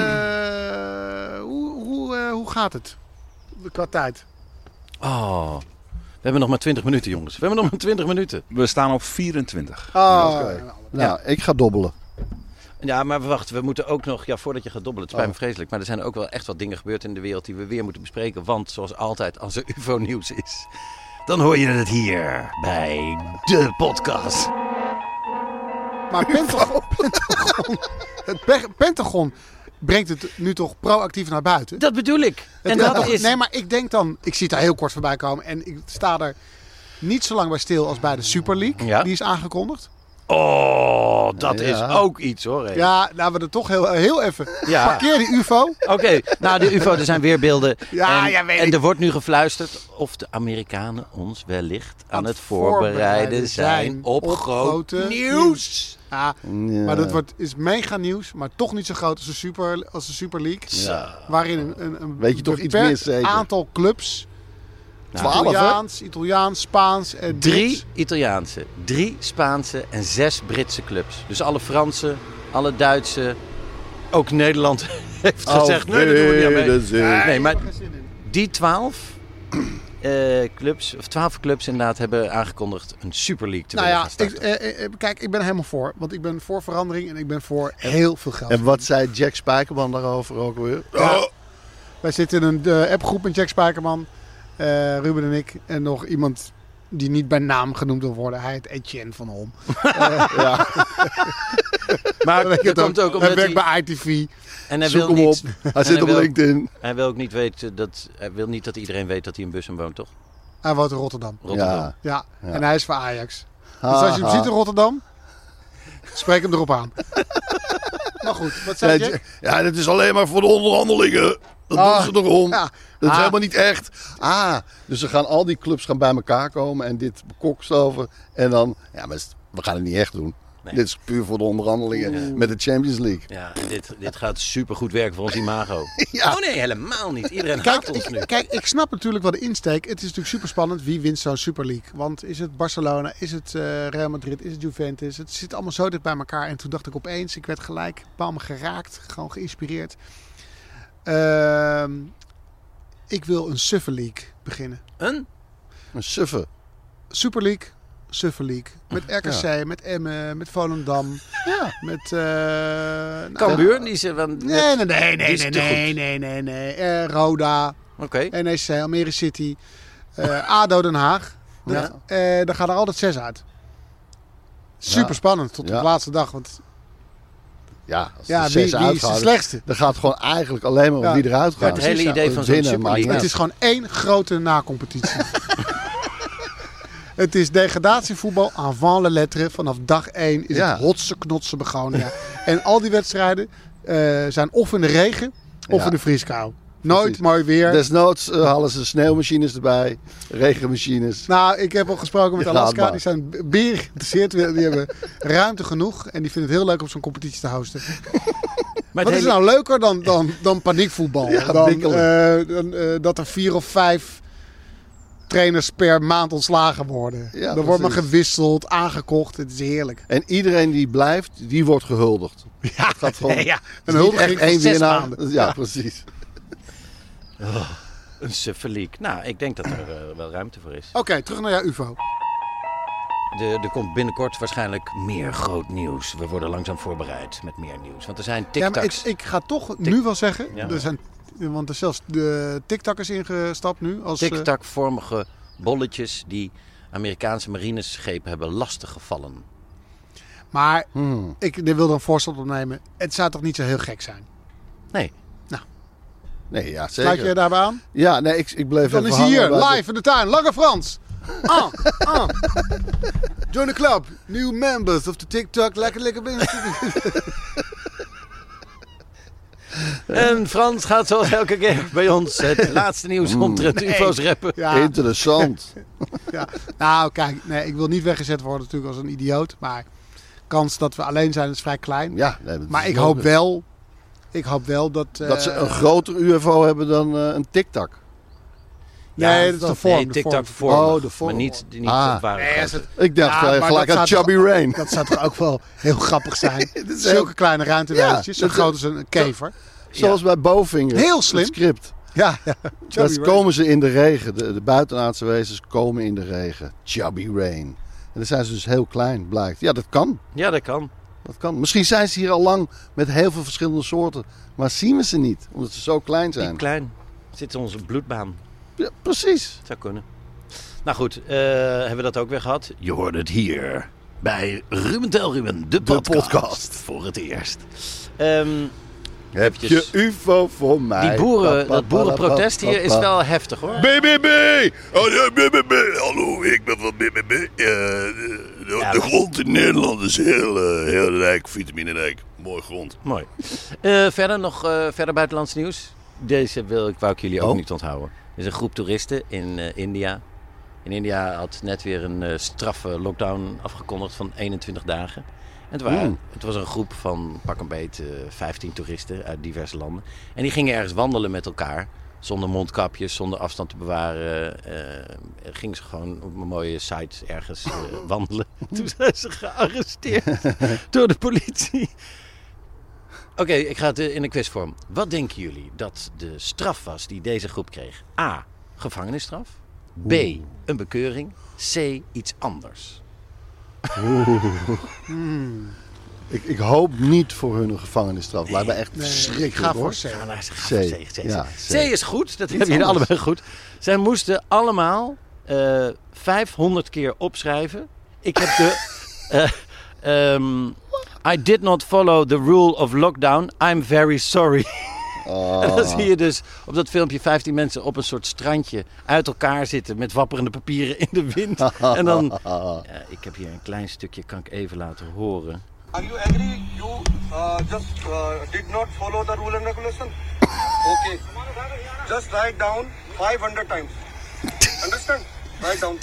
E: hoe, hoe, eh, hoe gaat het? Qua tijd.
D: Oh, we hebben nog maar 20 minuten, jongens. We hebben nog maar 20 minuten.
F: We staan op 24.
D: Ah.
E: Oh,
C: Oké. Nou, ik ga dobbelen.
D: Ja, maar wacht, we moeten ook nog, ja, voordat je gaat dobbelen, het spijt
E: Oh.
D: me vreselijk, maar er zijn ook wel echt wat dingen gebeurd in de wereld die we weer moeten bespreken. Want zoals altijd, als er UFO-nieuws is, dan hoor je het hier bij de podcast.
E: Maar [laughs] Pentagon, Pentagon- het pe- Pentagon brengt het nu toch proactief naar buiten?
D: Dat bedoel ik. En
E: Het kan
D: dat
E: toch-
D: is.
E: Nee, maar ik denk dan... Ik zie het daar heel kort voorbij komen. En ik sta er niet zo lang bij stil als bij de Super League.
D: Ja.
E: Die is aangekondigd.
D: Oh, dat is
C: Ja.
D: ook iets hoor. hè.
E: Ja, laten we er toch heel, heel even...
D: Ja.
E: Parkeer die ufo.
D: Oké, nou de UFO, er zijn weer beelden.
E: Ja,
D: en,
E: ja, weet
D: en
E: ik.
D: er wordt nu gefluisterd of de Amerikanen ons wellicht aan, het voorbereiden, zijn op, groot nieuws.
E: Ja,
C: Ja.
E: maar dat wordt, is mega nieuws. Maar toch niet zo groot als de Super, als de super League. Waarin een, een, een
C: Weet je toch iets
E: beperkt
C: meer zeker?
E: aantal clubs...
C: Twaalf, hè?
E: Italiaans, Italiaans, Spaans en
D: Drie
E: Brits.
D: Italiaanse, drie Spaanse en zes Britse clubs. Dus alle Franse, alle Duitse, ook Nederland [laughs] heeft
C: Oh,
D: gezegd: nee, dat doen we niet aan mee.
C: dat is-
D: Nee, maar die twaalf eh, clubs, of twaalf clubs inderdaad, hebben aangekondigd een Super League te
E: Nou
D: willen
E: ja,
D: gaan starten.
E: ik, eh, eh, kijk, ik ben er helemaal voor. Want ik ben voor verandering en ik ben voor heel veel geld.
C: En wat zei Jack Spijkerman daarover ook weer?
E: Ja. Wij zitten in een eh, appgroep met Jack Spijkerman, eh, Ruben en ik. En nog iemand die niet bij naam genoemd wil worden. Hij heet Etienne van Holm.
C: Ja.
D: Maar
E: Weet
D: [laughs]
E: je
D: dat
E: het
D: komt ook omdat
E: hij werkt
D: hij...
E: bij ITV.
D: En hij
C: Zoek
D: wil,
C: hem
D: niet,
C: op. Hij zit op
D: wil-
C: LinkedIn.
D: hij wil ook niet weten dat... Hij wil niet dat iedereen weet dat hij in Bussum woont, toch?
E: Hij woont in Rotterdam.
D: Rotterdam.
C: Ja.
E: Ja, en hij is voor Ajax.
C: Ha,
E: dus als je hem
C: ha.
E: ziet in Rotterdam, spreek hem erop
D: [laughs]
E: aan. maar goed, wat
C: Ja,
E: zei Jack?
C: Jack- Ja, dat is alleen maar voor de onderhandelingen. Dat
E: Ah.
C: doen ze erom.
E: Ja.
C: Dat is
E: Ah.
C: helemaal niet echt. Ah, dus ze gaan al die clubs gaan bij elkaar komen en dit bekokstoven. En dan, ja, maar we gaan het niet echt doen. Dit is puur voor de onderhandelingen met de Champions League.
D: Ja, dit, dit gaat supergoed werken voor ons
E: [laughs]
D: imago.
C: Ja.
D: Oh nee, helemaal niet. Iedereen haat
E: Kijk
D: ons nu.
E: ik, kijk, ik snap natuurlijk wel de insteek. Het is natuurlijk super spannend wie wint zo'n Super League. Want is het Barcelona, is het eh, Real Madrid, is het Juventus? Het zit allemaal zo dicht bij elkaar. En toen dacht ik opeens, ik werd gelijk, bam, geraakt, gewoon geïnspireerd. Ehm, ik wil een Suffer League beginnen.
D: Een?
C: Een suffe.
E: Super League, Suffer League. Met RKC, met Emmen, met Volendam, [laughs]
C: Ja.
E: met... eh, nou,
D: Cambuur? Die ze van...
E: Nee, nee, nee,
D: Die
E: nee,
D: is
E: nee,
D: te goed.
E: nee, nee, nee, nee. Eh, Roda,
D: Oké.
E: NEC, Almere City, eh, ADO Den Haag. Dan,
C: Ja.
E: eh, dan gaan er altijd zes uit. Super
C: Ja.
E: spannend tot
C: Ja.
E: de laatste dag. Want
C: Ja, als
E: ja,
C: de
E: wie,
C: zes
E: wie is de
C: uitgaan,
E: slechtste?
C: Dan gaat het gewoon eigenlijk alleen maar om
E: Ja.
C: wie eruit
D: Maar
C: gaat.
D: het hele idee van zo'n
C: Winnen
D: Super
C: maakt
D: League.
C: niet
E: Het is gewoon één grote
C: [laughs]
E: nacompetitie. het is degradatievoetbal avant la lettre. Vanaf dag één is
C: Ja.
E: het hotse knotse begonia. en al die wedstrijden eh, zijn of in de regen of
C: Ja.
E: in de vrieskou. Nooit
C: Precies.
E: mooi weer.
C: Desnoods eh, halen ze sneeuwmachines erbij, regenmachines.
E: Nou, ik heb al gesproken met
C: Je gaat
E: Alaska.
C: maar.
E: Die zijn b- bier geïnteresseerd. Die hebben ruimte genoeg. En die vinden het heel leuk om zo'n competitie te hosten.
D: [laughs] Maar
E: Wat
D: het
E: is
D: hele-
E: nou leuker dan, dan, dan paniekvoetbal?
C: Ja,
E: dan
C: wikkelen.
E: eh, dan eh, dat er vier of vijf trainers per maand ontslagen worden.
C: Ja,
E: Dan wordt maar
C: precies.
E: gewisseld, aangekocht. Het is
C: [laughs]
E: heerlijk.
C: En iedereen die blijft, die wordt gehuldigd.
E: Ja,
C: [laughs] gaat gewoon-
E: ja.
C: Een
E: Een huldiging
C: huldiging,
E: van
C: één
E: zes
C: winnaar.
E: maanden.
C: Ja, precies.
D: Een suffe league. Nou, ik denk dat er eh, wel ruimte voor is.
E: Oké, terug naar jouw UFO.
D: De, er komt binnenkort waarschijnlijk meer groot nieuws. We worden langzaam voorbereid met meer nieuws. Want er zijn
E: Ja, maar ik,
D: tic-tacs.
E: ik ga toch nu wel zeggen.
D: Ja.
E: Er zijn, want er zelfs de tiktakkers ingestapt nu. Als, eh,
D: Tic-tac-vormige bolletjes die Amerikaanse marineschepen hebben lastiggevallen.
E: Maar
C: Hmm.
E: ik wil er een voorstel op nemen. Het zou toch niet zo heel gek zijn?
D: Nee.
C: Nee, ja,
E: Sluit
C: zeker.
E: je daarbij aan?
C: Ja, nee, ik, ik bleef
E: Dan
C: even
E: is hij
C: hangen
E: hier,
C: bij de-
E: live in de tuin. Lange Frans. Ah, ah. Join the club. New members of the TikTok. Lekker, lekker binnen.
D: En Frans gaat zoals elke keer bij ons [laughs] het laatste nieuws omtrent UFO's rappen.
E: Ja, [laughs] Eh.
C: Interessant.
E: ja. Nou, kijk. Nee, ik wil niet weggezet worden natuurlijk als een idioot. Maar kans dat we alleen zijn is vrij klein.
C: Ja, nee, dat
E: Maar
C: is
E: ik hoop
C: ook-
E: wel... Ik hoop wel dat... eh,
C: Dat ze een groter UFO hebben dan eh, een TikTok.
E: Nee, dat is de vorm.
D: Nee,
E: de
D: tic-tac
E: vorm.
D: vormig,
C: Oh, de vorm.
D: Maar niet, niet
C: Ah.
D: op ware
E: Nee, als
D: grootte.
E: het-
C: Ik dacht
E: Ja,
C: eh,
E: maar
C: gelijk
E: dat
C: aan
E: zou
C: Chubby
E: toch-
C: Rain.
E: Dat zou toch ook wel heel grappig zijn.
C: is [laughs]
E: Zulke
C: heel-
E: kleine ruimtewijntjes,
C: Ja,
E: zo
C: dat-
E: groot als een kever.
C: Zoals bij Bovinger.
E: Heel slim.
C: Het script.
E: Ja, ja.
C: Dat
E: Chubby Ray.
C: komen ze in de regen. De, de buitenaardse wezens komen in de regen. Chubby Rain. En dan zijn ze dus heel klein, blijkt. Ja, dat kan.
D: Ja, dat kan.
C: Dat kan. Misschien zijn ze hier al lang met heel veel verschillende soorten. Maar zien we ze niet, omdat ze zo klein
D: Piep
C: zijn.
D: klein. Zit in onze bloedbaan.
C: Ja, precies.
D: Zou kunnen. Nou goed, eh, hebben we dat ook weer gehad? Je hoorde het hier bij Ruben Telruben, de podcast,
C: podcast.
D: voor het eerst. Ehm,
C: Heb je
D: Eventjes.
C: UFO voor mij?
D: die boeren,
C: Pa, pa,
D: dat
C: pa,
D: boerenprotest
C: pa, pa,
D: hier is
C: pa.
D: wel heftig hoor.
G: BBB! Oh, ja, BBB! Hallo, ik ben van BBB. Eh, de, de-
D: Ja,
G: de
D: maar-
G: grond in Nederland is heel, eh, heel rijk, vitaminerijk. Mooi grond.
D: Mooi. Eh, verder nog eh, verder buitenlands nieuws. Deze wil ik, wou ik jullie ook
C: Oh.
D: niet onthouden. Er is een groep toeristen in eh, India. In India had net weer een eh, straffe lockdown afgekondigd van 21 dagen. En het, waren,
C: Oeh.
D: het was een groep van pak een beet eh, 15 toeristen uit diverse landen. En die gingen ergens wandelen met elkaar. Zonder mondkapjes, zonder afstand te bewaren. eh, gingen ze gewoon op een mooie site ergens eh, wandelen. Toen zijn ze gearresteerd door de politie. Oké, ik ga het eh, in een quizvorm. Wat denken jullie dat de straf was die deze groep kreeg? A. Gevangenisstraf. B. Een bekeuring. C. Iets anders.
C: Ik, ik hoop niet voor hun een gevangenisstraf. Lijkt me echt
D: Ik ga
C: verschrikkelijk
D: voor
C: hoor.
D: C.
E: hoor.
D: Ga naar- ga
C: C.
D: voor C. C, C.
C: Ja,
D: C
C: C.
D: is goed, dat hebben jullie
C: anders.
D: allebei goed. Zij moesten allemaal eh, 500 keer opschrijven. Ik heb de... [laughs] eh, ehm, I did not follow the rule of lockdown. I'm very sorry. [laughs] En dan zie je dus op dat filmpje 15 mensen op een soort strandje uit elkaar zitten met wapperende papieren in de [laughs] wind. En dan, Ja, ik heb hier een klein stukje, kan ik even laten horen.
H: Are you agree you uh, just uh, did not follow the rule and regulation? Okay. Just write down 500 times. Understand? Write down.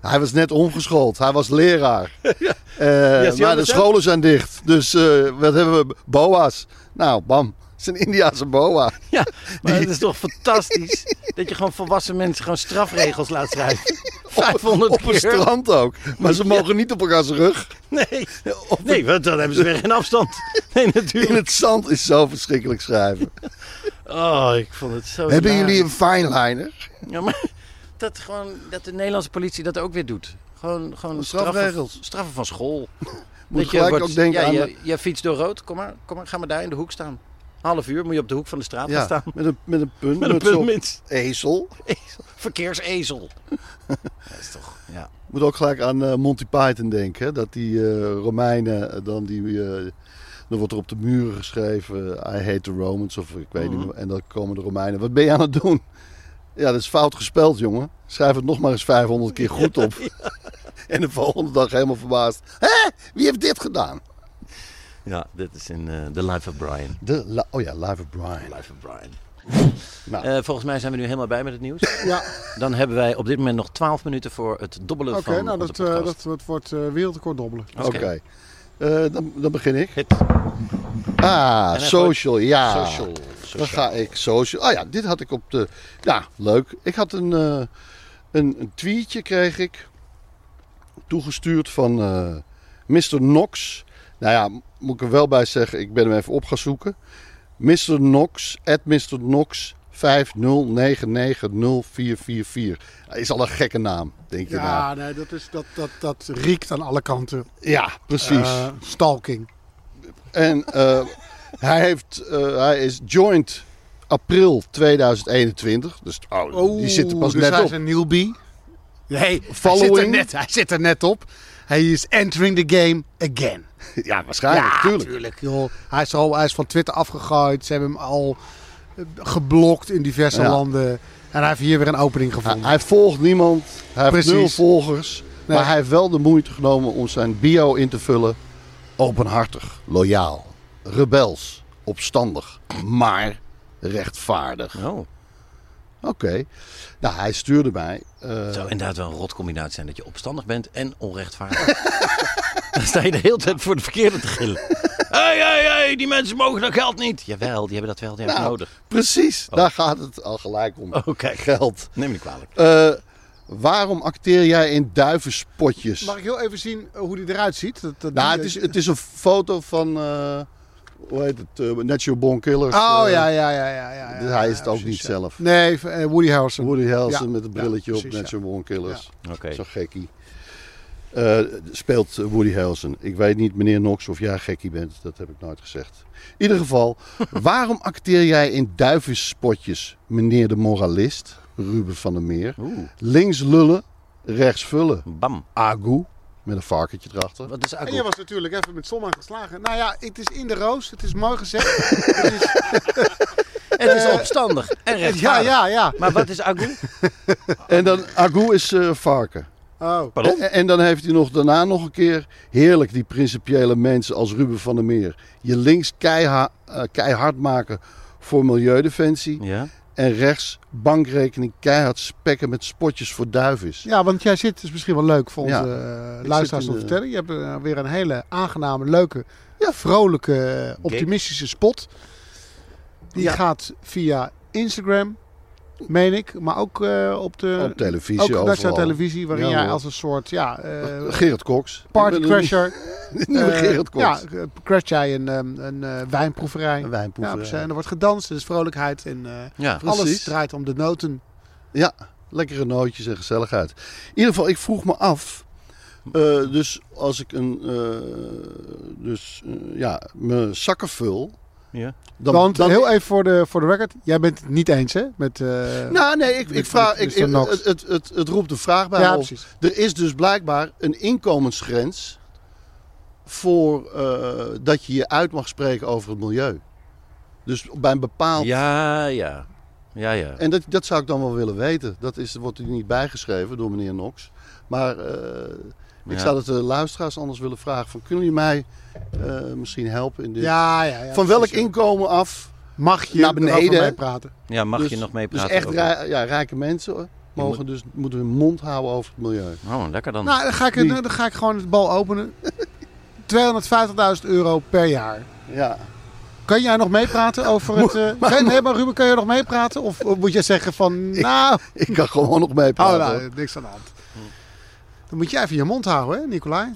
C: Hij was net ongeschoold. Hij was
D: [laughs]
C: leraar. Eh,
D: zie je
C: maar de
D: dat, hè?
C: scholen zijn dicht. Dus eh, wat hebben we? Boa's. Nou, bam. Het is een Indiase boa.
D: [laughs] Ja, maar het is toch fantastisch dat je gewoon volwassen mensen gewoon strafregels laat [laughs] schrijven. 500
C: Op een
D: keer.
C: strand ook. Maar ze mogen niet op elkaars rug.
D: [laughs] Nee. nee, want dan hebben ze weer geen afstand. [laughs] Nee,
C: In
D: natuurlijk.
C: het zand is zo verschrikkelijk schrijven.
D: Oh, ik vond het zo
C: Hebben
D: hilarisch.
C: jullie een fineliner?
D: Ja, maar dat, gewoon, dat de Nederlandse politie dat ook weer doet. Gewoon, gewoon
C: Strafregels.
D: Straffen, straffen van [laughs] school.
C: Moet
D: Dat je
C: gelijk
D: wordt-
C: ook denken
D: ja,
C: aan
D: je,
C: de-
D: je fietst door rood. Kom maar, kom maar, ga maar daar in de hoek staan. Half uur moet je op de hoek van de straat gaan
C: Ja,
D: staan.
C: met een, met een punt.
D: Met een puntmuts.
C: Ezel.
D: Ezel. Verkeersezel. Dat is toch, ja.
C: Ik moet ook gelijk aan eh, Monty Python denken. hè, Dat die eh, Romeinen eh, dan die... eh, dan wordt er op de muren geschreven... eh, I hate the Romans of ik weet niet meer. En dan komen de Romeinen. Wat ben je aan het doen? Ja, dat is fout gespeld, jongen. Schrijf het nog maar eens 500 keer goed op. [laughs] En de volgende dag helemaal verbaasd. Hé, wie heeft dit gedaan?
D: Ja, dit is in eh, The Life of Brian.
C: De, la- oh ja, Live of Brian.
D: Life of Brian.
C: Nou.
D: Eh, volgens mij zijn we nu helemaal bij met het nieuws.
E: [laughs] Ja,
D: Dan hebben wij op dit moment nog 12 minuten voor het dobbelen
E: oké.
D: van
E: nou,
D: onze
E: dat, eh,
D: podcast.
E: dat, dat wordt eh wereldrecord dobbelen.
C: Oké. Eh, dan, dan begin ik.
D: Hit.
C: Ah,
D: hij
C: social, ja.
D: Social.
C: Dan ga ik social. Ah ja, dit had ik op de. Ja, leuk. Ik had een, eh, een, een tweetje kreeg ik. Toegestuurd van eh, Mr. Knox. Nou ja, m- moet ik er wel bij zeggen, ik ben hem even op gaan zoeken. Mr. Knox, at Mr. Knox 509904444. Hij Is al een gekke naam, denk je nou.
E: Ja, nee, dat, is, dat, dat, dat riekt aan alle kanten.
C: Ja, precies.
E: Eh, stalking.
C: En eh, hij, heeft, eh, hij is joined april 2021. Dus oh, die zit er pas
E: dus
C: net
E: hij
C: op.
E: is een newbie. Nee, hij zit, er
C: Following.
E: net, hij zit er net op. Hij is entering the game again.
C: [laughs] Ja, waarschijnlijk, tuurlijk.
E: tuurlijk, joh. Hij, is al, hij is van Twitter afgegooid. Ze hebben hem al eh, geblokt in diverse
C: Ja.
E: landen. En hij heeft hier weer een opening
C: Hij,
E: gevonden.
C: hij volgt niemand, hij
E: Precies.
C: heeft nul volgers.
E: Nee.
C: Maar hij heeft wel de moeite genomen om zijn bio in te vullen. Openhartig, loyaal, rebels, opstandig, maar rechtvaardig.
D: Oh,
C: Oké. Nou, hij stuurde mij. eh,
D: het zou inderdaad wel een rot combinatie zijn dat je opstandig bent en onrechtvaardig. [laughs] dan sta je de hele tijd voor de verkeerde te
E: [laughs]
D: gillen. hey, hey, hey, die mensen mogen dat geld niet. Jawel, die hebben dat wel, die hebben
C: nou,
D: het nodig.
C: Precies, daar gaat het al gelijk om.
D: Oh, kijk.
C: Geld.
D: Neem me niet kwalijk.
C: Eh, waarom acteer jij in duivenspotjes?
E: Mag ik heel even zien eh, hoe hij eruit ziet? Dat, dat
C: Nou,
E: die-
C: het is, het is een foto van, eh, hoe heet het? eh, Natural Born Killers.
E: Oh
C: eh,
E: ja, ja, ja, ja. ja,
C: dus
E: ja,
C: hij
E: ja,
C: is het ook
E: precies,
C: niet
E: ja.
C: zelf.
E: Nee, v- eh, Woody Harrelson.
C: Woody Harrelson
E: Ja,
C: met een brilletje
E: ja,
C: op,
E: precies,
C: Natural Born Killers.
D: Oké.
C: Zo'n gekkie. Eh, speelt Woody Harrelson. Ik weet niet, meneer Knox, of jij gekkie bent. Dat heb ik nooit gezegd. In ieder
E: [laughs]
C: geval, waarom acteer jij in duivenspotjes, meneer de moralist? Ruben van der Meer.
D: Oeh,
C: Links lullen, rechts vullen.
D: bam.
C: Agu, met een varkentje erachter.
D: Wat is
E: En je
D: Agu?
E: was natuurlijk even met zon geslagen. Nou ja, het is in de roos. Het is mooi
C: [laughs]
E: gezegd. het is,
D: Het is opstandig en
E: eh, [laughs] ja,
D: rechtvaardig.
E: ja, ja.
D: Maar wat is
E: [laughs]
D: Agu?
C: En dan, Agu is eh, varken.
E: Oh.
D: Pardon?
C: En, en dan heeft hij nog daarna nog een keer heerlijk die principiële mensen als Ruben van der Meer. Je links keiha- eh, keihard maken voor milieudefensie
D: Ja.
C: en rechts bankrekening keihard spekken met spotjes voor duivis.
E: Ja, want jij zit, is misschien wel leuk voor onze
C: Ja.
E: eh,
C: Ik zit
E: luisteraars
C: in
E: om te
C: de-
E: vertellen. Je hebt eh, weer een hele aangename, leuke, vrolijke, eh, optimistische spot. Die
D: Ja.
E: gaat via Instagram, meen ik. Maar ook eh, op de...
C: Op televisie
E: ook
C: overal.
E: nationale televisie, waarin
C: Ja,
E: jij
C: hoor.
E: als een soort ja, eh
C: [laughs] Gerrit Cox. [laughs]
E: partycrasher...
C: De nieuwe
E: eh,
C: Gerrit Cox.
E: Ja, eh, crash jij een, ehm, een eh, wijnproeverij.
C: Een
E: Ja,
C: wijnproeverij.
E: precies. en er wordt gedanst, er is vrolijkheid en eh,
D: Ja.
E: alles
C: eh, Precies.
E: draait om de noten.
C: Ja, lekkere nootjes en gezelligheid. In ieder geval, ik vroeg me af. eh, dus als ik een, eh, dus, eh, ja, mijn zakken vul.
D: Ja.
C: Dan,
E: Want
C: dan-
E: heel even voor de, voor de record, jij bent het niet eens hè? Met, eh,
C: Nou, nee, ik, ik
E: Met-
C: vraag,
E: met
C: ik,
E: Mr.
C: ik-
E: Knox.
C: het, het, het, het roept de vraag bij
E: ja,
C: me op.
E: precies.
C: Er is dus blijkbaar een inkomensgrens voor eh, dat je je uit mag spreken over het milieu. Dus bij een bepaald...
D: Ja, ja. Ja, ja.
C: En dat, dat zou ik dan wel willen weten. Dat is, wordt er niet bijgeschreven door meneer Knox. Maar eh, ik
D: Ja.
C: zou dat de luisteraars anders willen vragen. Van, kunnen jullie mij eh, misschien helpen in dit?
E: Ja, ja, ja.
C: van welk
E: precies.
C: inkomen af?
E: mag je
C: naar
E: naar beneden
C: beneden?
E: mee praten?
D: Ja, mag
C: Dus-
D: je nog mee
C: Dus
D: praten?
C: echt
D: over-
C: rij- ja, rijke mensen hoor, mogen dus, moeten hun mond houden over het milieu.
D: Oh, lekker dan.
E: Nou, dan ga ik,
C: Die.
E: dan ga ik gewoon het bal openen. [laughs] 250.000 euro per jaar.
C: Ja. [laughs]
E: Kan jij nog meepraten over het... eh, kan- nee, maar Ruben, kan jij nog meepraten? Of eh, moet jij zeggen van... Nou,
C: [laughs] Ik kan gewoon nog
E: oh,
C: meepraten.
E: nou,
C: hoor.
E: niks aan de hand. Dan moet jij even je mond houden, hè, [laughs] Nicolai?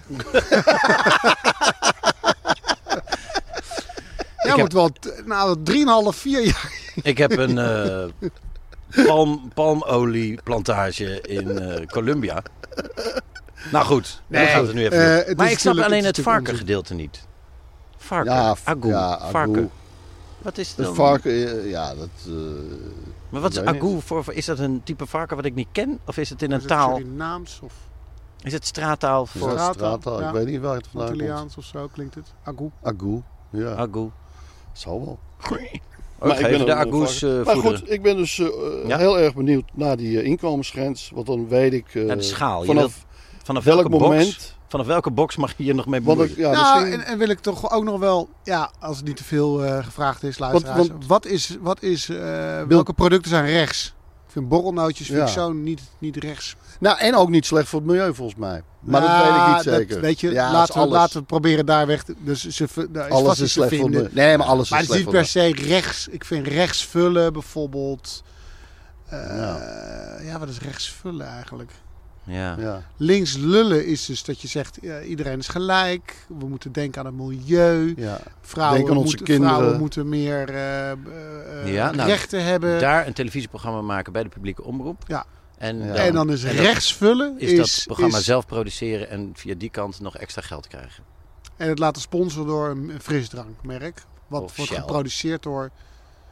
E: jij
D: heb-
E: moet wel t- nou, 3,5, 4 jaar...
D: Ik heb een eh, [laughs] palm, palmolieplantage in eh, Colombia. Nou goed, nee, gaat het nu even.
E: eh,
D: doen.
E: het is
D: maar ik snap
E: natuurlijk-
D: alleen
E: het
D: het
E: is natuurlijk
D: varkengedeelte niet. Varken,
C: Ja, v-
D: agu,
C: ja, agu.
D: varken. Wat is het
C: Het
D: dan?
C: varken, eh, ja, dat... eh,
D: Maar wat is
C: Weet niet.
D: agu voor? voor- Is dat een type varken wat ik niet ken? Of is het in
E: onzin.
D: een
E: Is het
D: taal?
E: Surinaams of...
D: Is het straattaal
C: Is
D: voor
C: dat
E: Straattaal,
C: straattaal?
E: ja.
C: Ik weet niet waar het vandaan komt.
E: Antilliaans of zo klinkt het. Agu.
C: Agu. Ja, [laughs]
D: agu?
C: zal wel.
D: Maar ik
C: ben
D: Ah. de
C: een-
D: agus
C: een varken.
D: eh,
C: Maar
D: voederen.
C: goed, ik ben dus eh,
D: Ja?
C: heel erg benieuwd naar die eh, inkomensgrens. Want dan weet ik eh,
D: Ja, de schaal. Je
C: vanaf
D: Vanaf
C: welk
D: welke box?
C: moment...
D: Vanaf welke box mag je hier nog mee
C: Want ik,
D: bemoeien?
C: ja,
E: nou,
C: misschien-
E: en, en wil ik toch ook nog wel, ja, als het niet te veel eh, gevraagd is, luisteraars.
C: want-
E: wat is, wat is eh, welke producten zijn rechts? Ik vind borrelnootjes vind
C: Ja.
E: ik zo niet, niet rechts.
C: nou, en ook niet slecht voor het milieu volgens mij. Maar dat weet
E: Nou,
C: ik niet zeker.
E: weet je,
C: Ja, dat is
E: laten, we,
C: alles.
E: laten we proberen daar weg. te- Dus ze, v- daar is vast
C: alles
E: iets
C: is
E: te
C: slecht voor het
E: vinden.
C: milieu. Nee, maar alles
E: Maar
C: is
E: het is
C: slecht
E: niet
C: voor het
E: per se rechts. Ik vind rechts vullen bijvoorbeeld. eh, Ja, wat is rechts vullen eigenlijk?
D: Ja.
C: milieu. Ja.
E: Links lullen is dus dat je zegt, ja, iedereen is gelijk. We moeten denken aan het milieu.
C: Ja.
E: Vrouwen,
C: Denk aan onze
E: moeten,
C: kinderen.
E: vrouwen moeten meer eh, eh, eh,
D: Ja, nou,
E: rechten hebben.
D: Daar een televisieprogramma maken bij de publieke omroep.
E: Ja.
D: En,
C: Ja.
D: Dan,
E: en dan is
D: en dat
E: rechts vullen.
D: is, dat programma zelf produceren en via die kant nog extra geld krijgen.
E: En het laten sponsoren door een een frisdrankmerk. Wat
D: Of
E: wordt
D: Shell.
E: geproduceerd door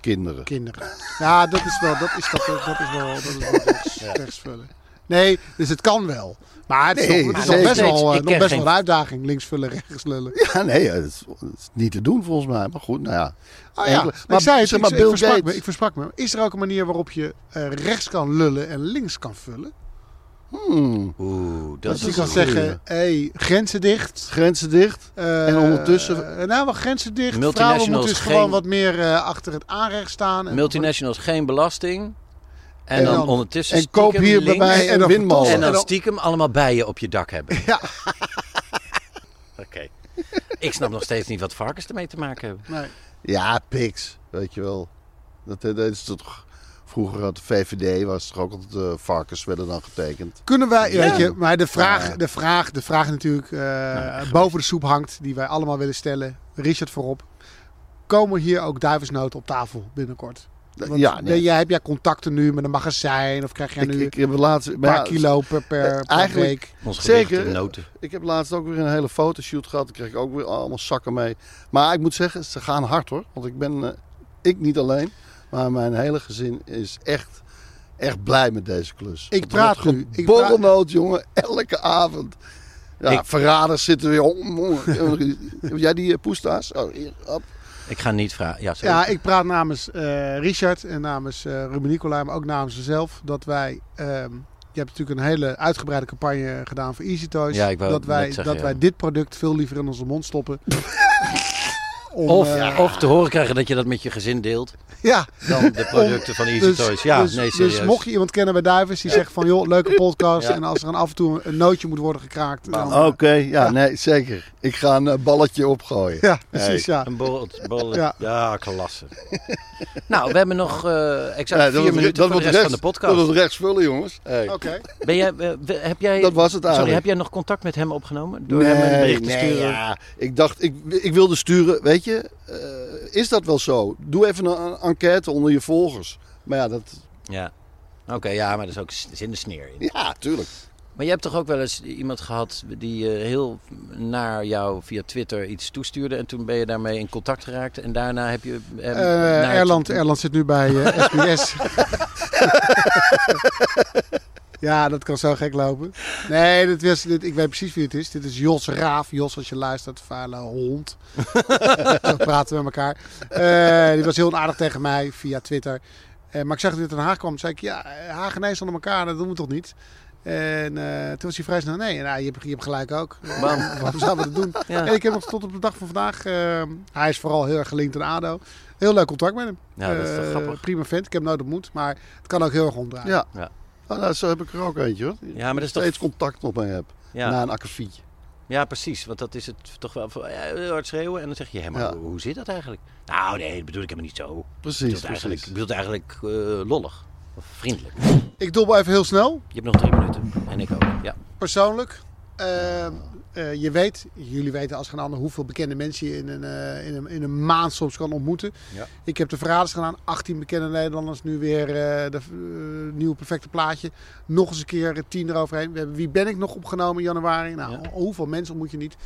C: Kinderen.
E: kinderen. Ja, dat is wel, dat is, dat, dat is wel, dat is wel rechts, rechts vullen. Nee, dus het kan wel. Maar het is,
C: Nee,
E: nog, het is nog
C: zeker.
E: best, wel, eh,
D: Ik
E: nog
D: ken
E: best
D: geen-
E: wel een uitdaging. Links vullen, rechts lullen.
C: [laughs] Ja, nee, het is, het is niet te doen volgens mij. Maar goed, nou ja.
E: Oh ja,
C: Enkele-
E: maar ik zei het,
C: zeg
E: ik,
C: maar
E: ik
C: Bill
E: versprak me,
C: Gates.
E: ik versprak me. Is er ook een manier waarop je eh, rechts kan lullen en links kan vullen?
C: Hmm.
D: Oeh, dat
E: Dat, je
D: is
E: kan
D: een
E: zeggen, hey, grenzen dicht.
C: Grenzen dicht.
E: eh,
C: En ondertussen-
E: eh, nou, wel grenzen dicht.
D: Multinationals
E: Vrouwen moeten dus
D: geen-
E: gewoon wat meer eh, achter het aanrecht staan. En-
D: multinationals geen belasting. En,
C: En
D: dan,
C: dan-
D: ondertussen
C: En koop
D: stiekem
C: hier bij
D: links
C: mij
E: en
C: een
E: dan
C: windmolen.
D: En
E: en
D: dan
E: dan-
D: stiekem allemaal bijen op je dak hebben.
E: Ja.
D: [laughs] Oké. Ik snap nog steeds niet wat varkens ermee te maken hebben.
E: Nee.
C: Ja, piks, weet je wel. Dat, eh, dat is toch, vroeger had de VVD, was toch ook altijd eh, varkens werden dan getekend.
E: Kunnen wij,
D: Ja.
E: weet je, maar de vraag, de vraag, de vraag natuurlijk eh, boven de soep hangt, die wij allemaal willen stellen. Richard voorop. komen hier ook duivelsnoten op tafel binnenkort?
D: Ah,
E: Want
C: ja, nee.
E: ben jij, heb jij contacten nu met een magazijn of krijg jij
C: Ik,
E: nu
C: ik heb laatst...
E: een paar kilo per,
C: eh,
E: per, per
C: eigenlijk-
E: week?
D: Ons gewicht
C: Zeker.
D: en noten.
C: Ik heb laatst ook weer een hele fotoshoot gehad. Daar kreeg ik ook weer allemaal zakken mee. Maar ik moet zeggen, ze gaan hard hoor. Want ik ben, eh, ik niet alleen, maar mijn hele gezin is echt, echt blij met deze klus.
E: Ik praat
C: Wat
E: nu. Ik praat-
C: Borrelnoot, jongen, elke avond. Ja, verraders zitten weer om. Heb jij die eh, poesta's? Oh, hier, hop.
D: Ik ga niet vragen. Ja, sorry.
E: Ja, ik praat namens eh, Richard en namens eh Ruben Nicolai, maar ook namens mezelf. Dat wij. ehm, je hebt natuurlijk een hele uitgebreide campagne gedaan voor Easy Toys.
D: Ja, ik wou
E: dat
D: net
E: wij,
D: zeggen,
E: dat
D: ja.
E: wij dit product veel liever in onze mond stoppen. [laughs] Om,
D: of,
E: eh,
D: of te horen krijgen dat je dat met je gezin deelt.
E: ja.
D: Dan de producten van Easy
E: Dus-
D: Toys. Ja,
E: dus,
D: nee,
E: dus
D: serieus.
E: mocht je iemand kennen bij Duivers die zegt van joh,
D: [laughs]
E: leuke podcast.
D: Ja.
E: En als er dan af en toe een nootje moet worden gekraakt. Dan,
C: Oké, ja, nee, zeker. Ik ga een eh, balletje opgooien.
E: Ja, precies. Ja.
D: Een borrel. borrel-
E: Ja.
D: ja. klasse. [laughs] nou, we hebben nog eh exact
C: Nee,
D: vier
C: wordt-
D: minuten voor de rest van de podcast.
C: Dat wordt rechts vullen, jongens. Hey.
E: Oké.
D: Ben jij, eh, we- heb jij,
C: Dat was het
D: Sorry,
C: eigenlijk.
D: heb jij nog contact met hem opgenomen? Door hem een bericht te
C: nee,
D: sturen?
C: ja. Ik dacht, ik, ik wilde sturen, weet je, eh, is dat wel zo? Doe even een een enquête onder je volgers. Maar ja, dat,
D: Ja. Oké, ja, maar er is ook s- er zit een sneer in.
C: ja, tuurlijk.
D: Maar je hebt toch ook wel eens iemand gehad die eh, heel naar jou via Twitter iets toestuurde en toen ben je daarmee in contact geraakt en daarna heb je... hem
E: Eh,
D: naar het-
E: Erland, Erland zit nu bij
D: [laughs]
E: eh, SBS. ja, dat kan zo gek lopen. Nee, dit was, dit, ik weet precies wie het is. Dit is Jos Raaf. Jos, als je luistert, vuile hond. [laughs] zo praten we met elkaar. Eh, die was heel aardig tegen mij via Twitter. Eh, maar ik zag dat hij uit Den Haag kwam. Toen zei ik, ja, Haag en IJssel onder elkaar, dat doen we toch niet? En eh, toen was hij vrij snel, nee, nou, je, hebt, je hebt gelijk
D: [laughs]
E: ook.
D: Bam.
E: [laughs] Waarom zouden we dat doen?
D: Ja.
E: En ik heb nog tot op de dag van vandaag. eh, hij is vooral heel erg gelinkt aan ADO. Heel leuk contact met hem.
D: Ja, dat is toch
E: Eh,
D: grappig.
E: Prima vent. Ik heb hem nooit ontmoet. Maar het kan ook heel erg omdraaien.
C: Ja.
D: Ja.
C: Nou, nou, zo heb ik er ook eentje hoor. Die
D: Ja, maar dat is toch...
C: Steeds contact nog mee heb.
D: Ja.
C: Na een akkefietje.
D: Ja, precies. Want dat is het toch wel van, ja, heel hard schreeuwen. En dan zeg je, hé, maar
C: Ja.
D: hoe, hoe zit dat eigenlijk? Nou, nee, dat bedoel ik helemaal niet zo. Ik
C: Precies,
D: bedoel het eigenlijk,
C: precies.
D: ik bedoel het eigenlijk eh, lollig. Of vriendelijk.
E: Ik dobbel even heel snel.
D: Je hebt nog drie minuten. En ik ook, ja.
E: Persoonlijk. eh, eh, je weet, jullie weten als geen ander hoeveel bekende mensen je in een, eh, in een, in een maand soms kan ontmoeten.
D: Ja.
E: Ik heb de verraders gedaan. 18 bekende Nederlanders. Nu weer eh de eh, nieuwe perfecte plaatje. Nog eens een keer eh, 10 eroverheen. We hebben Wie ben ik nog opgenomen in januari. Nou,
D: Ja.
E: hoeveel mensen ontmoet je niet.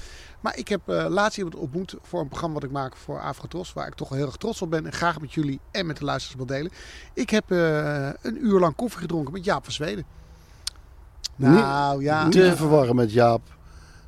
E: Maar ik heb eh, laatst iemand ontmoet voor een programma wat ik maak voor Afrotros. Waar ik toch wel heel erg trots op ben. En graag met jullie en met de luisteraars wil delen. Ik heb eh, een uur lang koffie gedronken met Jaap van Zweden.
C: Nee,
E: Nou ja,
C: Niet te verwarren met Jaap.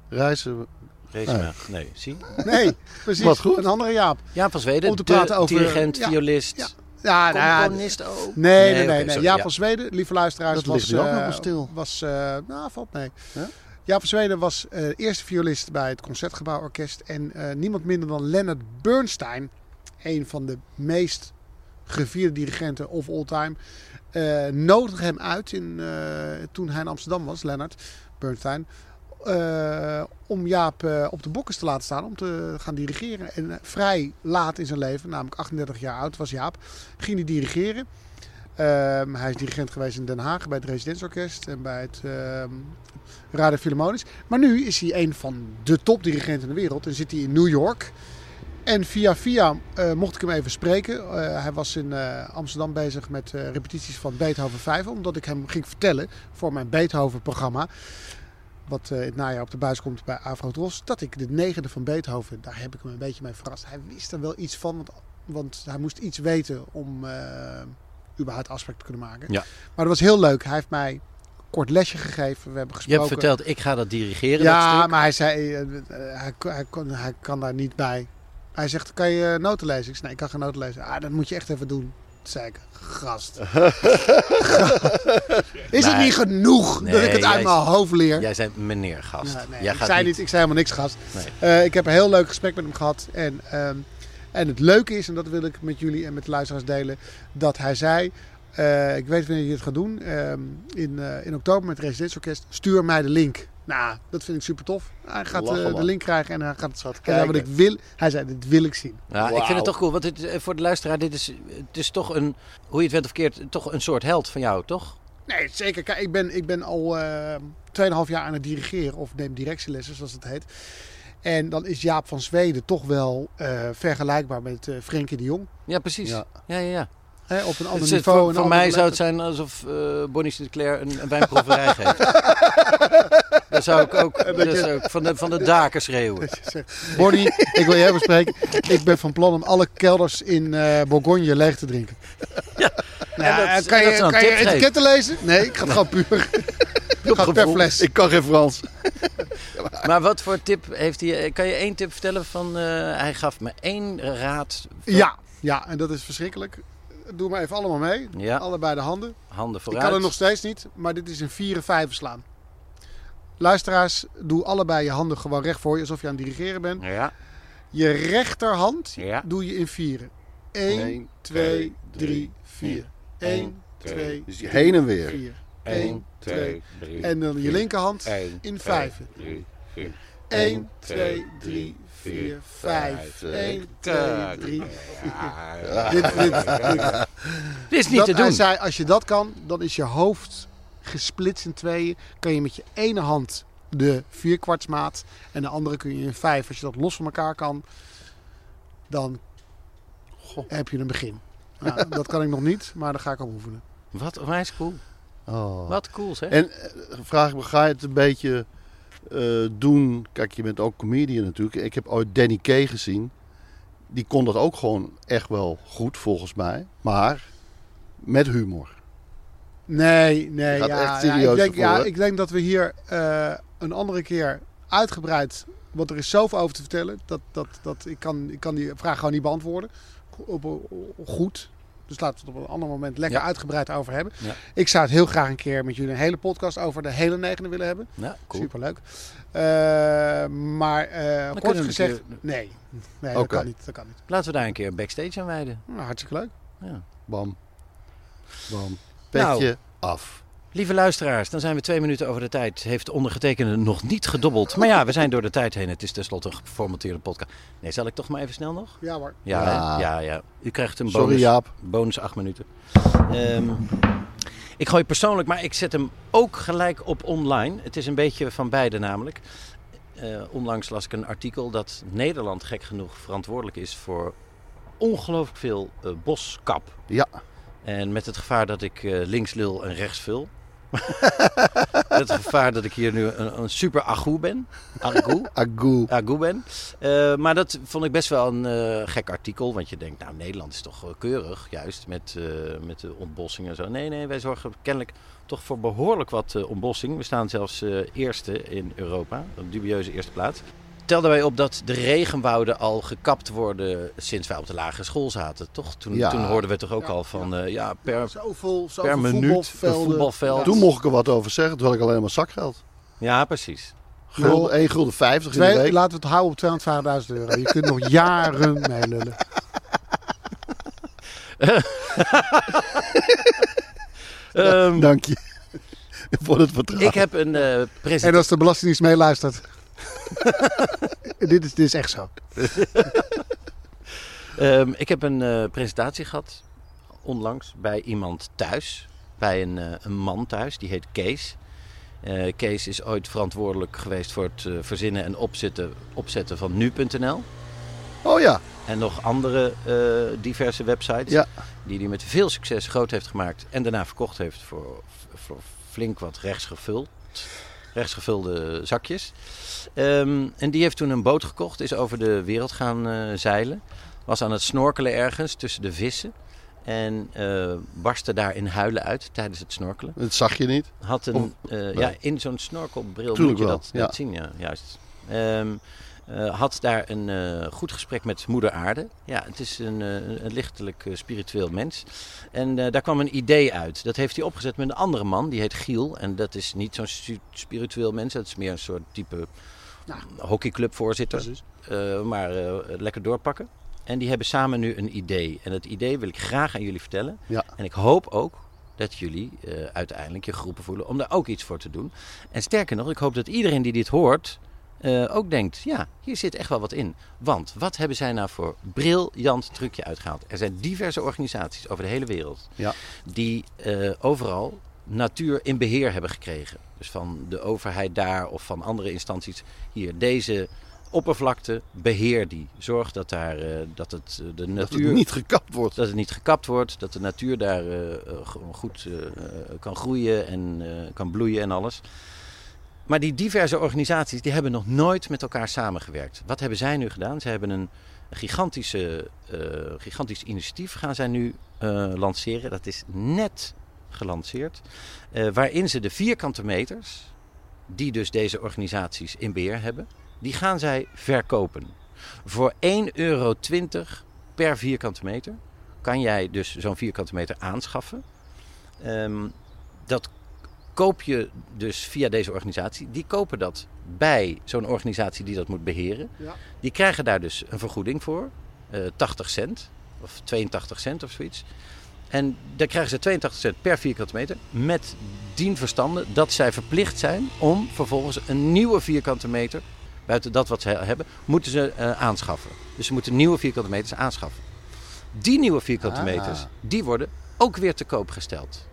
C: Reizen.
D: Deze maar. Nee, zie?
E: nee, precies.
C: Wat goed.
E: Een andere Jaap.
D: Jaap van Zweden,
E: Om te
D: de
E: praten over-
D: dirigent,
E: ja,
D: violist,
E: ja. Ja, nou ja,
D: componist ook.
E: Nee, nee, nee.
D: Oh. Nee,
E: nee,
D: oké, sorry,
E: Jaap
D: ja.
E: van Zweden, lieve luisteraars,
C: Dat
E: was,
C: ligt nu ook
E: eh,
C: nog wel stil.
E: was eh, nou, valt mee.
C: Ja?
E: Jaap van Zweden was eh, eerste violist bij het Concertgebouworkest. En eh, niemand minder dan Leonard Bernstein, een van de meest gevierde dirigenten of all time, eh nodigde hem uit in, eh, toen hij in Amsterdam was, Leonard Bernstein. eh, om Jaap eh, op de bokkens te laten staan om te gaan dirigeren. En eh, vrij laat in zijn leven, namelijk 38 jaar oud was Jaap, ging hij dirigeren. Ehm, hij is dirigent geweest in Den Haag bij het Residenzorkest en bij het ehm Radar Philharmonisch. Maar nu is hij een van de topdirigenten in de wereld en zit hij in New York. En via via eh, mocht ik hem even spreken. Eh, hij was in eh, Amsterdam bezig met eh, repetities van Beethoven 5, omdat ik hem ging vertellen voor mijn Beethoven-programma. Wat eh, in het najaar op de buis komt bij Afro-Tros. Dat ik de negende van Beethoven, daar heb ik hem een beetje mee verrast. Hij wist er wel iets van, want, want hij moest iets weten om eh, überhaupt afspraak te kunnen maken.
D: Ja.
E: Maar dat was heel leuk. Hij heeft mij een kort lesje gegeven. We
D: Je
E: hebben
D: hebt
E: gesproken.
D: verteld, ik ga dat dirigeren, dat
E: Ja,
D: stuk.
E: maar hij zei, eh, eh, hij, kon- hij, kon, hij kan daar niet bij. Hij zegt, kan je noten lezen? Ik zei, nee, ik kan geen noten lezen. Ah, dat moet je echt even doen. Toen zei ik,
D: [laughs]
E: gast. Is het
D: Nee.
E: niet genoeg dat
D: Nee,
E: ik het uit
D: jij-
E: mijn hoofd leer?
D: Jij zei meneer gast.
E: Ja, nee,
D: Jij
E: ik,
D: gaat
E: zei
D: niet...
E: niet, ik zei helemaal niks, gast.
D: Nee.
E: Eh, ik heb een heel leuk gesprek met hem gehad. En, ehm, en het leuke is, en dat wil ik met jullie en met de luisteraars delen, dat hij zei. eh, ik weet wanneer je het gaat doen. ehm, in, eh, in oktober met het Residentsorkest. Stuur mij de link. Nou, dat vind ik super tof. Hij gaat
C: Lachen,
E: eh, de
C: man.
E: link krijgen en hij gaat het
C: Gaat
E: hij zei, wat ik
C: kijken.
E: wil. Hij zei, dit wil ik zien.
D: Ja, ik vind het toch cool. Want het, eh, voor de luisteraar, dit is, het is toch een, hoe je het bent of keert, toch een soort held van jou, toch?
E: Nee, zeker. Kijk, ehm, ik ben, ik ben al eh, 2,5 jaar aan het dirigeren, of neem directielessen, zoals het heet. En dan is Jaap van Zweden toch wel eh, vergelijkbaar met eh Frenkie de Jong.
D: Ja, precies.
C: Ja.
D: Ja, ja, ja.
E: Hè, op een ander
D: Het zit-
E: niveau.
D: voor
E: een
D: voor
E: andere
D: mij zou het
E: level.
D: zijn alsof eh Bonnie Sinclair een, een wijnproeverij
E: [laughs]
D: geeft. Dan zou ik ook, dan zou ik van, de, van de daken schreeuwen.
E: Bonnie, ik wil jij bespreken. Ik ben van plan om alle kelders in eh Bourgogne leeg te drinken. Nou Ja.
D: En dat-
E: kan
D: en dat
E: je,
D: ze dan
E: kan je
D: tip geven.
E: etiketten lezen? Nee, ik ga het gewoon
D: [laughs]
E: puur. Ik ga het per
C: Gevoel.
E: fles.
C: Ik kan geen Frans.
D: Maar wat voor tip heeft hij? eh, Kan je één tip vertellen van... eh, hij gaf me één raad.
E: Ja, ja, en dat is verschrikkelijk. Doe maar even allemaal mee.
D: Ja.
E: Allebei de handen.
D: Handen
E: Ik
D: vooruit.
E: kan het nog steeds niet, maar dit is een 4-5 slaan. Luisteraars, doe allebei je handen gewoon recht voor je, alsof je aan het dirigeren bent.
D: Ja.
E: Je rechterhand
D: Ja.
E: doe je in vieren. 1,
C: Eén,
E: 2,
C: twee,
E: 3,
C: drie,
E: 4.
C: vier.
E: 1, 2,
C: Dus heen en weer.
E: 4. 1, 2,
F: drie.
E: en dan je linkerhand
F: één,
E: in
F: twee,
E: vijven.
F: drie, vier.
E: 1,
F: Eén,
E: 2,
F: twee,
E: 3,
F: drie,
E: 4,
F: vier,
E: 5.
F: vijf,
E: 1, 2,
F: zes,
E: 3,
F: Ja,
E: dit, dit, dit.
D: Dit is niet
E: dat
D: te
E: hij
D: doen.
E: zei, als je dat kan, dan is je hoofd gesplitst in tweeën. Kan je met je ene hand de vierkwartsmaat en de andere kun je in vijf. Als je dat los van elkaar kan, dan heb je een begin. Nou, dat kan ik nog niet, maar daar ga ik op oefenen.
D: Wat onwijs cool.
C: Oh.
D: Wat cool zeg.
C: En eh, vraag ik me, ga je het een beetje eh, doen? Kijk, je bent ook comedian natuurlijk. Ik heb ooit Danny Kay gezien. Die kon dat ook gewoon echt wel goed, volgens mij. Maar met humor.
E: Nee, nee.
C: Je gaat
E: ja,
C: echt
E: ja, ik,
C: serieus
E: denk,
C: ervoor,
E: ja,
C: hè?
E: ik denk dat we hier eh, een andere keer uitgebreid. Want er is zoveel over te vertellen. Dat, dat, dat, ik, kan, ik kan die vraag gewoon niet beantwoorden. Op, op- op- goed. Dus laten we het op een ander moment lekker
D: Ja.
E: uitgebreid over hebben.
D: Ja.
E: Ik zou het heel graag een keer met jullie een hele podcast over de hele negende willen hebben.
D: Ja, Nou, cool.
E: Superleuk. Eh, maar eh, kort
D: kunnen we
E: gezegd,
D: een keer-
E: nee. Nee, dat,
C: Oké.
E: kan niet, dat kan niet.
D: Laten we daar een keer een backstage aan wijden.
E: Nou, hartstikke leuk.
D: Ja.
C: Bam. Bam.
D: Nou.
C: Petje af.
D: Lieve luisteraars, dan zijn we twee minuten over de tijd. Heeft de ondergetekende nog niet gedobbeld. Maar ja, we zijn door de tijd heen. Het is tenslotte een geformateerde podcast. Nee, zal ik toch maar even snel nog?
E: Ja hoor.
D: Ja,
C: Ja.
D: hè? ja, ja. U krijgt een
C: Sorry,
D: bonus,
C: Jaap.
D: bonus acht minuten. Ehm, ik gooi persoonlijk, maar ik zet hem ook gelijk op online. Het is een beetje van beide namelijk. Eh, onlangs las ik een artikel dat Nederland gek genoeg verantwoordelijk is voor ongelooflijk veel eh, boskap.
C: Ja.
D: En met het gevaar dat ik eh, links lul en rechts
C: [laughs]
D: vul. het gevaar dat ik hier nu een, een super agoe ben. Agoe.
C: Agoe.
D: Ja, goed ben. Eh, maar dat vond ik best wel een eh, gek artikel. Want je denkt, nou, Nederland is toch eh, keurig, juist met, eh, met de ontbossing en zo. Nee, nee, wij zorgen kennelijk toch voor behoorlijk wat eh, ontbossing. We staan zelfs eh, eerste in Europa, een dubieuze eerste plaats. Tel daarbij op dat de regenwouden al gekapt worden sinds wij op de lagere school zaten, toch? Toen,
C: Ja.
D: toen hoorden we toch ook
E: Ja,
D: al van, eh, ja, per,
E: Zoveel,
D: per
E: zoveel
D: minuut een
E: voetbalvelden.
D: voetbalveld.
C: Toen mocht ik er wat over zeggen, terwijl ik alleen maar zakgeld.
D: Ja, precies.
C: Gulden, 1 gulden 50 in de
E: Twee,
C: week.
E: laten we het houden op 250.000 euro. Je kunt nog jaren mee lullen.
D: Ehm,
C: Dank je [laughs] voor het vertrouwen.
D: ik heb een eh
E: En
D: president...
E: als de Belastingdienst meeluistert. [laughs] dit, is, dit is echt zo.
D: Ehm, ik heb een eh, presentatie gehad onlangs bij iemand thuis. Bij een, eh, een man thuis, die heet Kees. Eh, Kees is ooit verantwoordelijk geweest voor het eh, verzinnen en opzetten, opzetten van nu.nl.
C: Oh ja.
D: En nog andere eh, diverse websites.
C: Ja.
D: Die hij met veel succes groot heeft gemaakt. En daarna verkocht heeft voor, voor flink wat rechtsgevuld. Rechtsgevulde zakjes. Ehm, en die heeft toen een boot gekocht. Is over de wereld gaan eh, zeilen. Was aan het snorkelen ergens tussen de vissen. En eh, barstte daar in huilen uit tijdens het snorkelen.
C: Dat zag je niet.
D: Had een,
C: Of-
D: eh, ja, in zo'n snorkelbril moet
C: Tuurlijk
D: je
C: wel,
D: dat,
C: ja.
D: dat zien, ja, juist. Ehm, eh, had daar een eh, goed gesprek met moeder aarde. Ja, het is een, eh, een- een lichtelijk eh, spiritueel mens. En eh, daar kwam een idee uit. Dat heeft hij opgezet met een andere man, die heet Giel. En dat is niet zo'n stu- spiritueel mens, dat is meer een soort type
C: Nou.
D: hockeyclubvoorzitter. Eh, maar eh, lekker doorpakken. En die hebben samen nu een idee. En dat idee wil ik graag aan jullie vertellen.
C: Ja.
D: En ik hoop ook dat jullie eh, uiteindelijk je groepen voelen om daar ook iets voor te doen. En sterker nog, ik hoop dat iedereen die dit hoort eh, ook denkt: ja, hier zit echt wel wat in. Want wat hebben zij nou voor briljant trucje uitgehaald? Er zijn diverse organisaties over de hele wereld
C: Ja.
D: die eh, overal natuur in beheer hebben gekregen. Dus van de overheid daar of van andere instanties. Hier, deze oppervlakte, beheer die. Zorg dat, daar, eh, dat het, eh, de
C: Dat
D: natuur...
C: het niet gekapt wordt.
D: Dat het niet gekapt wordt, dat de natuur daar eh, eh, gewoon goed eh, eh, kan groeien en eh, kan bloeien en alles. Maar die diverse organisaties die hebben nog nooit met elkaar samengewerkt. Wat hebben zij nu gedaan? Ze hebben een gigantische, eh, gigantisch initiatief gaan zij nu eh, lanceren. Dat is net gelanceerd. eh, waarin ze de vierkante meters, die dus deze organisaties in beheer hebben, die gaan zij verkopen. Voor 1,20 euro per vierkante meter kan jij dus zo'n vierkante meter aanschaffen. Ehm, dat koop je dus via deze organisatie. Die kopen dat bij zo'n organisatie die dat moet beheren.
E: Ja.
D: Die krijgen daar dus een vergoeding voor. eh, 80 cent of 82 cent of zoiets. En daar krijgen ze 82 cent per vierkante meter. Met dien verstande dat zij verplicht zijn om vervolgens een nieuwe vierkante meter... buiten dat wat ze hebben, moeten ze eh, aanschaffen. Dus ze moeten nieuwe vierkante meters aanschaffen. Die nieuwe vierkante
C: Ah.
D: meters, die worden ook weer te koop gesteld.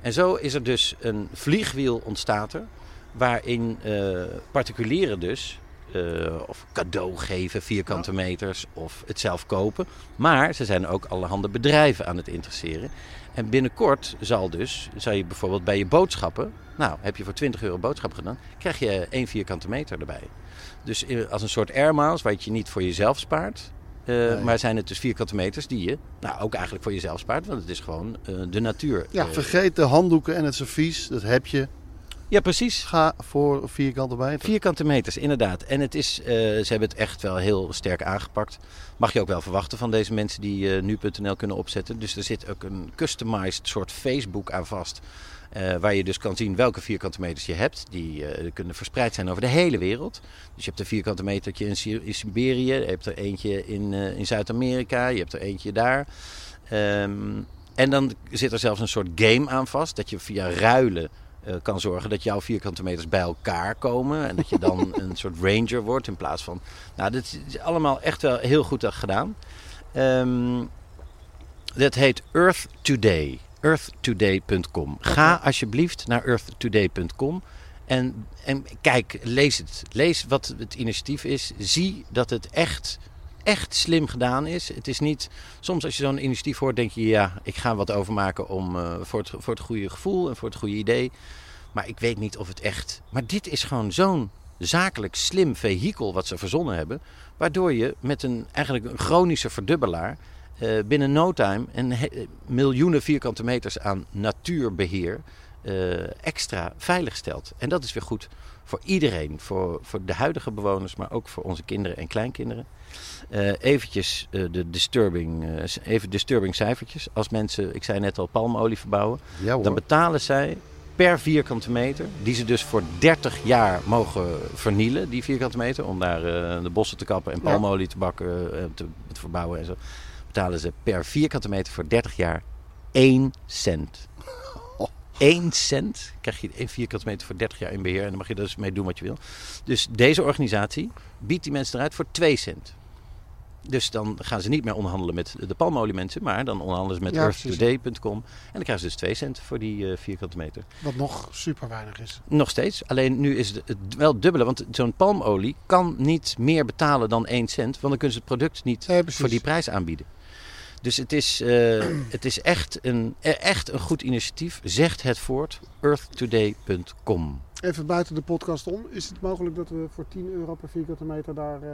D: En zo is er dus een vliegwiel ontstaat er, waarin eh, particulieren dus eh, of cadeau geven, vierkante meters of het zelf kopen. Maar ze zijn ook allerhande bedrijven aan het interesseren. En binnenkort zal dus, zal je bijvoorbeeld bij je boodschappen, nou heb je voor 20 euro boodschap gedaan, krijg je één vierkante meter erbij. Dus eh, als een soort air miles, waar je het je niet voor jezelf spaart. eh, Maar zijn het dus vierkante meters die je nou, ook eigenlijk voor jezelf spaart. Want het is gewoon eh, de natuur.
C: Ja,
D: eh,
C: vergeet de handdoeken en het servies. Dat heb je.
D: ja, precies.
C: Ga voor vierkante meter.
D: Vierkante meters, inderdaad. En het is, eh, ze hebben het echt wel heel sterk aangepakt. Mag je ook wel verwachten van deze mensen die eh, nu.nl kunnen opzetten. Dus er zit ook een customized soort Facebook aan vast. eh, waar je dus kan zien welke vierkante meters je hebt. Die eh, kunnen verspreid zijn over de hele wereld. Dus je hebt een vierkante metertje in, Sir- in Siberië. Je hebt er eentje in, eh, in Zuid-Amerika. Je hebt er eentje daar. Ehm, en dan zit er zelfs een soort game aan vast. Dat je via ruilen eh, kan zorgen dat jouw vierkante meters bij elkaar komen. En dat je dan een soort ranger wordt in plaats van... Nou, dit is allemaal echt wel heel goed gedaan. Ehm, dat heet Earth Today. EarthToday.com. Ga alsjeblieft naar EarthToday.com. En, en kijk, lees het. Lees wat het initiatief is. Zie dat het echt, echt slim gedaan is. Het is niet soms als je zo'n initiatief hoort, denk je ja, ik ga wat overmaken om, eh, voor, het, voor het goede gevoel en voor het goede idee. Maar ik weet niet of het echt. Maar dit is gewoon zo'n zakelijk slim vehikel wat ze verzonnen hebben. Waardoor je met een eigenlijk een chronische verdubbelaar. eh, binnen no time een he- miljoenen vierkante meters aan natuurbeheer eh, extra veilig stelt. En dat is weer goed voor iedereen. Voor, voor de huidige bewoners, maar ook voor onze kinderen en kleinkinderen. Eh eventjes eh, de disturbing, eh, c- even disturbing cijfertjes. Als mensen, ik zei net al, palmolie verbouwen.
C: Ja hoor.
D: Dan betalen zij per vierkante meter, die ze dus voor 30 jaar mogen vernielen, die vierkante meter, om daar eh, de bossen te kappen en palmolie te bakken, eh, te, te verbouwen en zo, betalen ze per vierkante meter voor 30 jaar 1 cent. 1 cent krijg je 1 vierkante meter voor 30 jaar in beheer en dan mag je dus mee doen wat je wil. Dus deze organisatie biedt die mensen eruit voor 2 cent. Dus dan gaan ze niet meer onderhandelen met de palmoliemensen, maar dan onderhandelen ze met
E: Ja, precies.
D: earthtoday.com. En dan krijgen ze dus 2 cent voor die eh, vierkante meter.
E: Wat nog super weinig is.
D: Nog steeds. Alleen nu is het het wel dubbele. Want zo'n palmolie kan niet meer betalen dan 1 cent. Want dan kunnen ze het product niet
E: Nee, precies.
D: voor die prijs aanbieden. Dus het is, eh,
C: [clears throat]
D: het is echt, een, e- echt een goed initiatief. Zegt het voort. earthtoday.com
E: Even buiten de podcast om. Is het mogelijk dat we voor 10 euro per vierkante meter daar eh,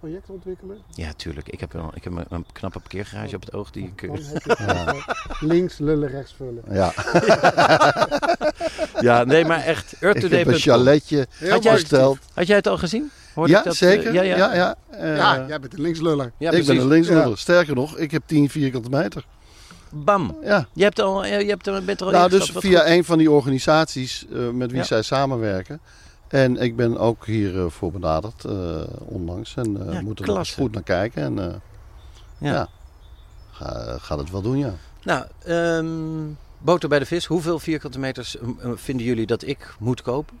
E: projecten ontwikkelen?
D: Ja, tuurlijk. Ik heb, wel, ik heb een, een knappe parkeergarage op het oog. Die ik,
E: Dan
C: [laughs]
E: heb je [laughs] eh, links lullen, rechts vullen.
D: [laughs]
C: Ja,
D: ja, nee, maar echt.
C: [laughs] ik heb een
D: earthtoday.com
C: chaletje
D: Had jij-
C: besteld.
D: Had jij het al gezien? Hoorde
C: Ja,
D: ik dat, eh,
C: zeker.
D: ja,
C: ja,
D: ja.
C: ja.
D: ja.
C: Eh,
E: ja, jij bent een links luller.
C: ik
D: precies.
C: ben een linkshoeder.
E: Ja.
C: Sterker nog, ik heb 10 vierkante meter.
D: Bam.
C: Ja.
D: Je, hebt al, eh, je hebt er, bent er al
C: Nou, dus
D: ingestapt. Wat
C: via een van die organisaties eh, met wie
D: Ja.
C: zij samenwerken. En ik ben ook hiervoor voor benaderd eh, onlangs. En eh
D: Ja,
C: moet er nog eens
D: klasse.
C: goed naar kijken. En eh,
D: goed. Ja.
C: ja. ga, ga dat wel doen, ja.
D: Nou, ehm, boter bij de vis. Hoeveel vierkante meters mm, mm, vinden jullie dat ik moet kopen?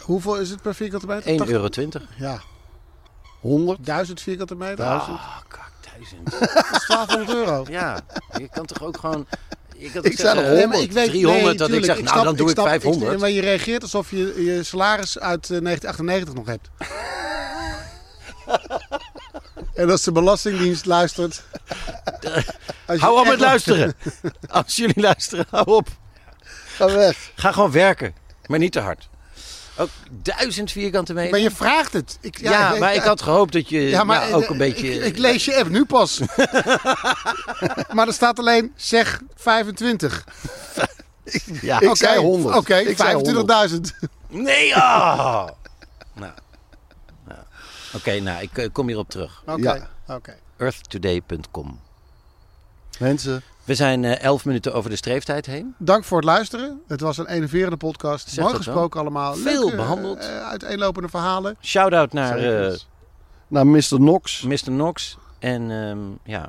E: Hoeveel is het per vierkante meter?
D: 1,20
E: 80?
D: euro.
E: Ja,
C: 100,
E: 1000 vierkante meter.
D: Ah, kak, duizend.
E: Dat is 1200 euro.
D: [laughs] Ja, je kan toch ook gewoon... Je kunt ook
C: Ik zei
D: zeggen,
C: nog
D: eh,
E: Nee,
C: 100.
E: maar ik weet,
D: 300
E: nee,
D: dat ik
E: tuurlijk,
D: zeg, nou
E: snap-
D: dan doe ik
E: snap-
D: 500.
E: maar je reageert alsof je eh, je salaris uit eh, 1998 nog hebt. [laughs] en als de Belastingdienst [laughs] luistert... als je
D: Hou op
E: echt-
D: met [laughs] luisteren. Als jullie luisteren, hou op.
C: Ga weg.
D: Ga gewoon werken, maar niet te hard. Ook duizend vierkante meter.
E: Maar je vraagt het. Ik,
D: ja, maar ik had gehoopt dat je
E: Ja, maar
D: nou, ook
E: eh,
D: een beetje...
E: Ik, ik lees je app nu [laughs] pas. maar er staat alleen zeg 25.
D: Ja.
C: Ik
E: Oké,
C: zei 100.
E: Oké,
C: Ik zei
E: 25.000.
D: Nee, ah! [laughs] nou. nou. Oké, nou, ik eh, kom hierop terug.
E: Oké.
C: Ja.
E: oké.
D: Earthtoday.com
C: Mensen,
D: We zijn eh, 11 minuten over de streeftijd heen.
E: Dank voor het luisteren. Het was een enerverende podcast.
D: Zeg
E: Mooi
D: dat wel.
E: gesproken allemaal.
D: Veel
E: Leuke,
D: behandeld.
E: eh, uiteenlopende verhalen.
D: Shout-out naar eh
E: Zeker.
C: naar Mr. Knox.
D: Mr. Knox en, ehm, ja,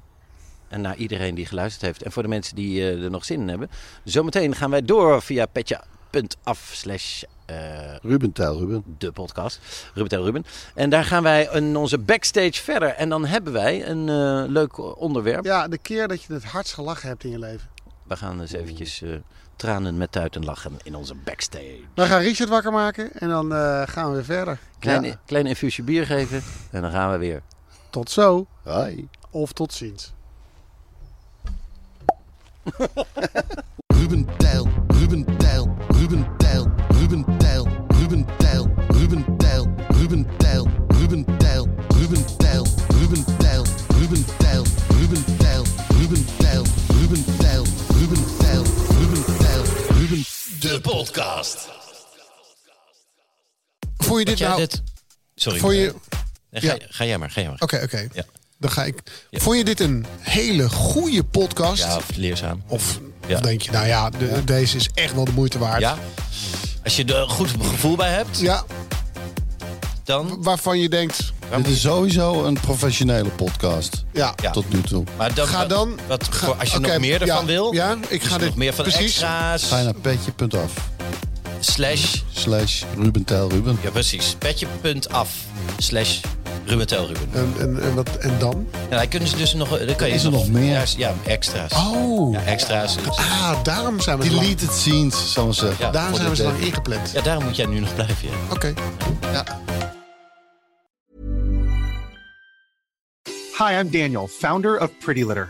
D: en naar iedereen die geluisterd heeft. En voor de mensen die eh, er nog zin in hebben. Zometeen gaan wij door via petja.af slash eh,
C: Ruben Tijl, Ruben.
D: de podcast. Ruben Tel Ruben. En daar gaan wij in onze backstage verder. En dan hebben wij een eh, leuk onderwerp.
E: Ja, de keer dat je het hardst gelachen hebt in je leven.
D: We gaan eens eventjes eh, tranen met tuiten lachen in onze backstage.
E: Dan gaan Richard wakker maken en dan eh, gaan we weer verder.
D: Klein, klein infuusje bier geven en dan gaan we weer.
E: Tot zo
C: Hi.
E: of tot ziens.
A: Ruben Tijl, Ruben Tijl, Ruben Tijl, Ruben Tijl, Ruben Tijl, Ruben Tijl, Ruben Tijl, Ruben Tijl, Ruben Tijl, Ruben Tijl, Ruben Tijl, Ruben Tijl, Ruben Tijl, Ruben Tijl, Ruben Tijl, Ruben Tijl, Ruben de podcast.
I: Voel je dit nou...
G: Sorry.
I: Voel je...
G: eh,
I: ja.
G: ga, ga jij maar, ga jij maar.
I: Oké, oké.
G: Ja.
I: Dan ga ik.
G: Ja.
I: Vond je dit een hele goede podcast?
G: Ja, of leerzaam.
I: Of,
G: Ja.
I: of denk je, nou ja, de- deze is echt wel de moeite waard?
G: Ja. Als je er goed gevoel bij hebt,
I: Ja,
G: dan...
I: waarvan je denkt,
C: Dit is sowieso een professionele podcast.
I: ja.
G: Ja.
C: Tot nu toe.
G: Maar dan,
I: Ga dan-
G: Wat,
I: ga-
G: voor- als je
I: oké,
G: nog meer
I: ja,
G: ervan wil.
I: ja, ik
G: dus
I: ga dit-
G: Nog meer van de
I: precies.
G: extra's.
C: Ga je naar petje.af
G: Slash.
C: slash Ruben Tijl, Ruben.
G: Ja, precies. Petje.af. Slash. Ruben Tel Ruben.
I: En, en, en, wat, en dan?
G: En daar kunnen ze dus nog... Dan kan je
C: Is er nog meer?
G: Ja, Ja, extra's.
I: Oh,
G: Ja, extra's. Dus-
I: ah, daarom zijn we zo lang,
C: Deleted scenes, zal ik zeggen.
G: Ja,
I: daarom
G: voor
I: zijn we
G: de-
I: zo lang ingepland.
G: Ja, daarom moet jij nu nog blijven. Ja.
I: Oké.
J: Hi, I'm Daniel, founder of Pretty Litter.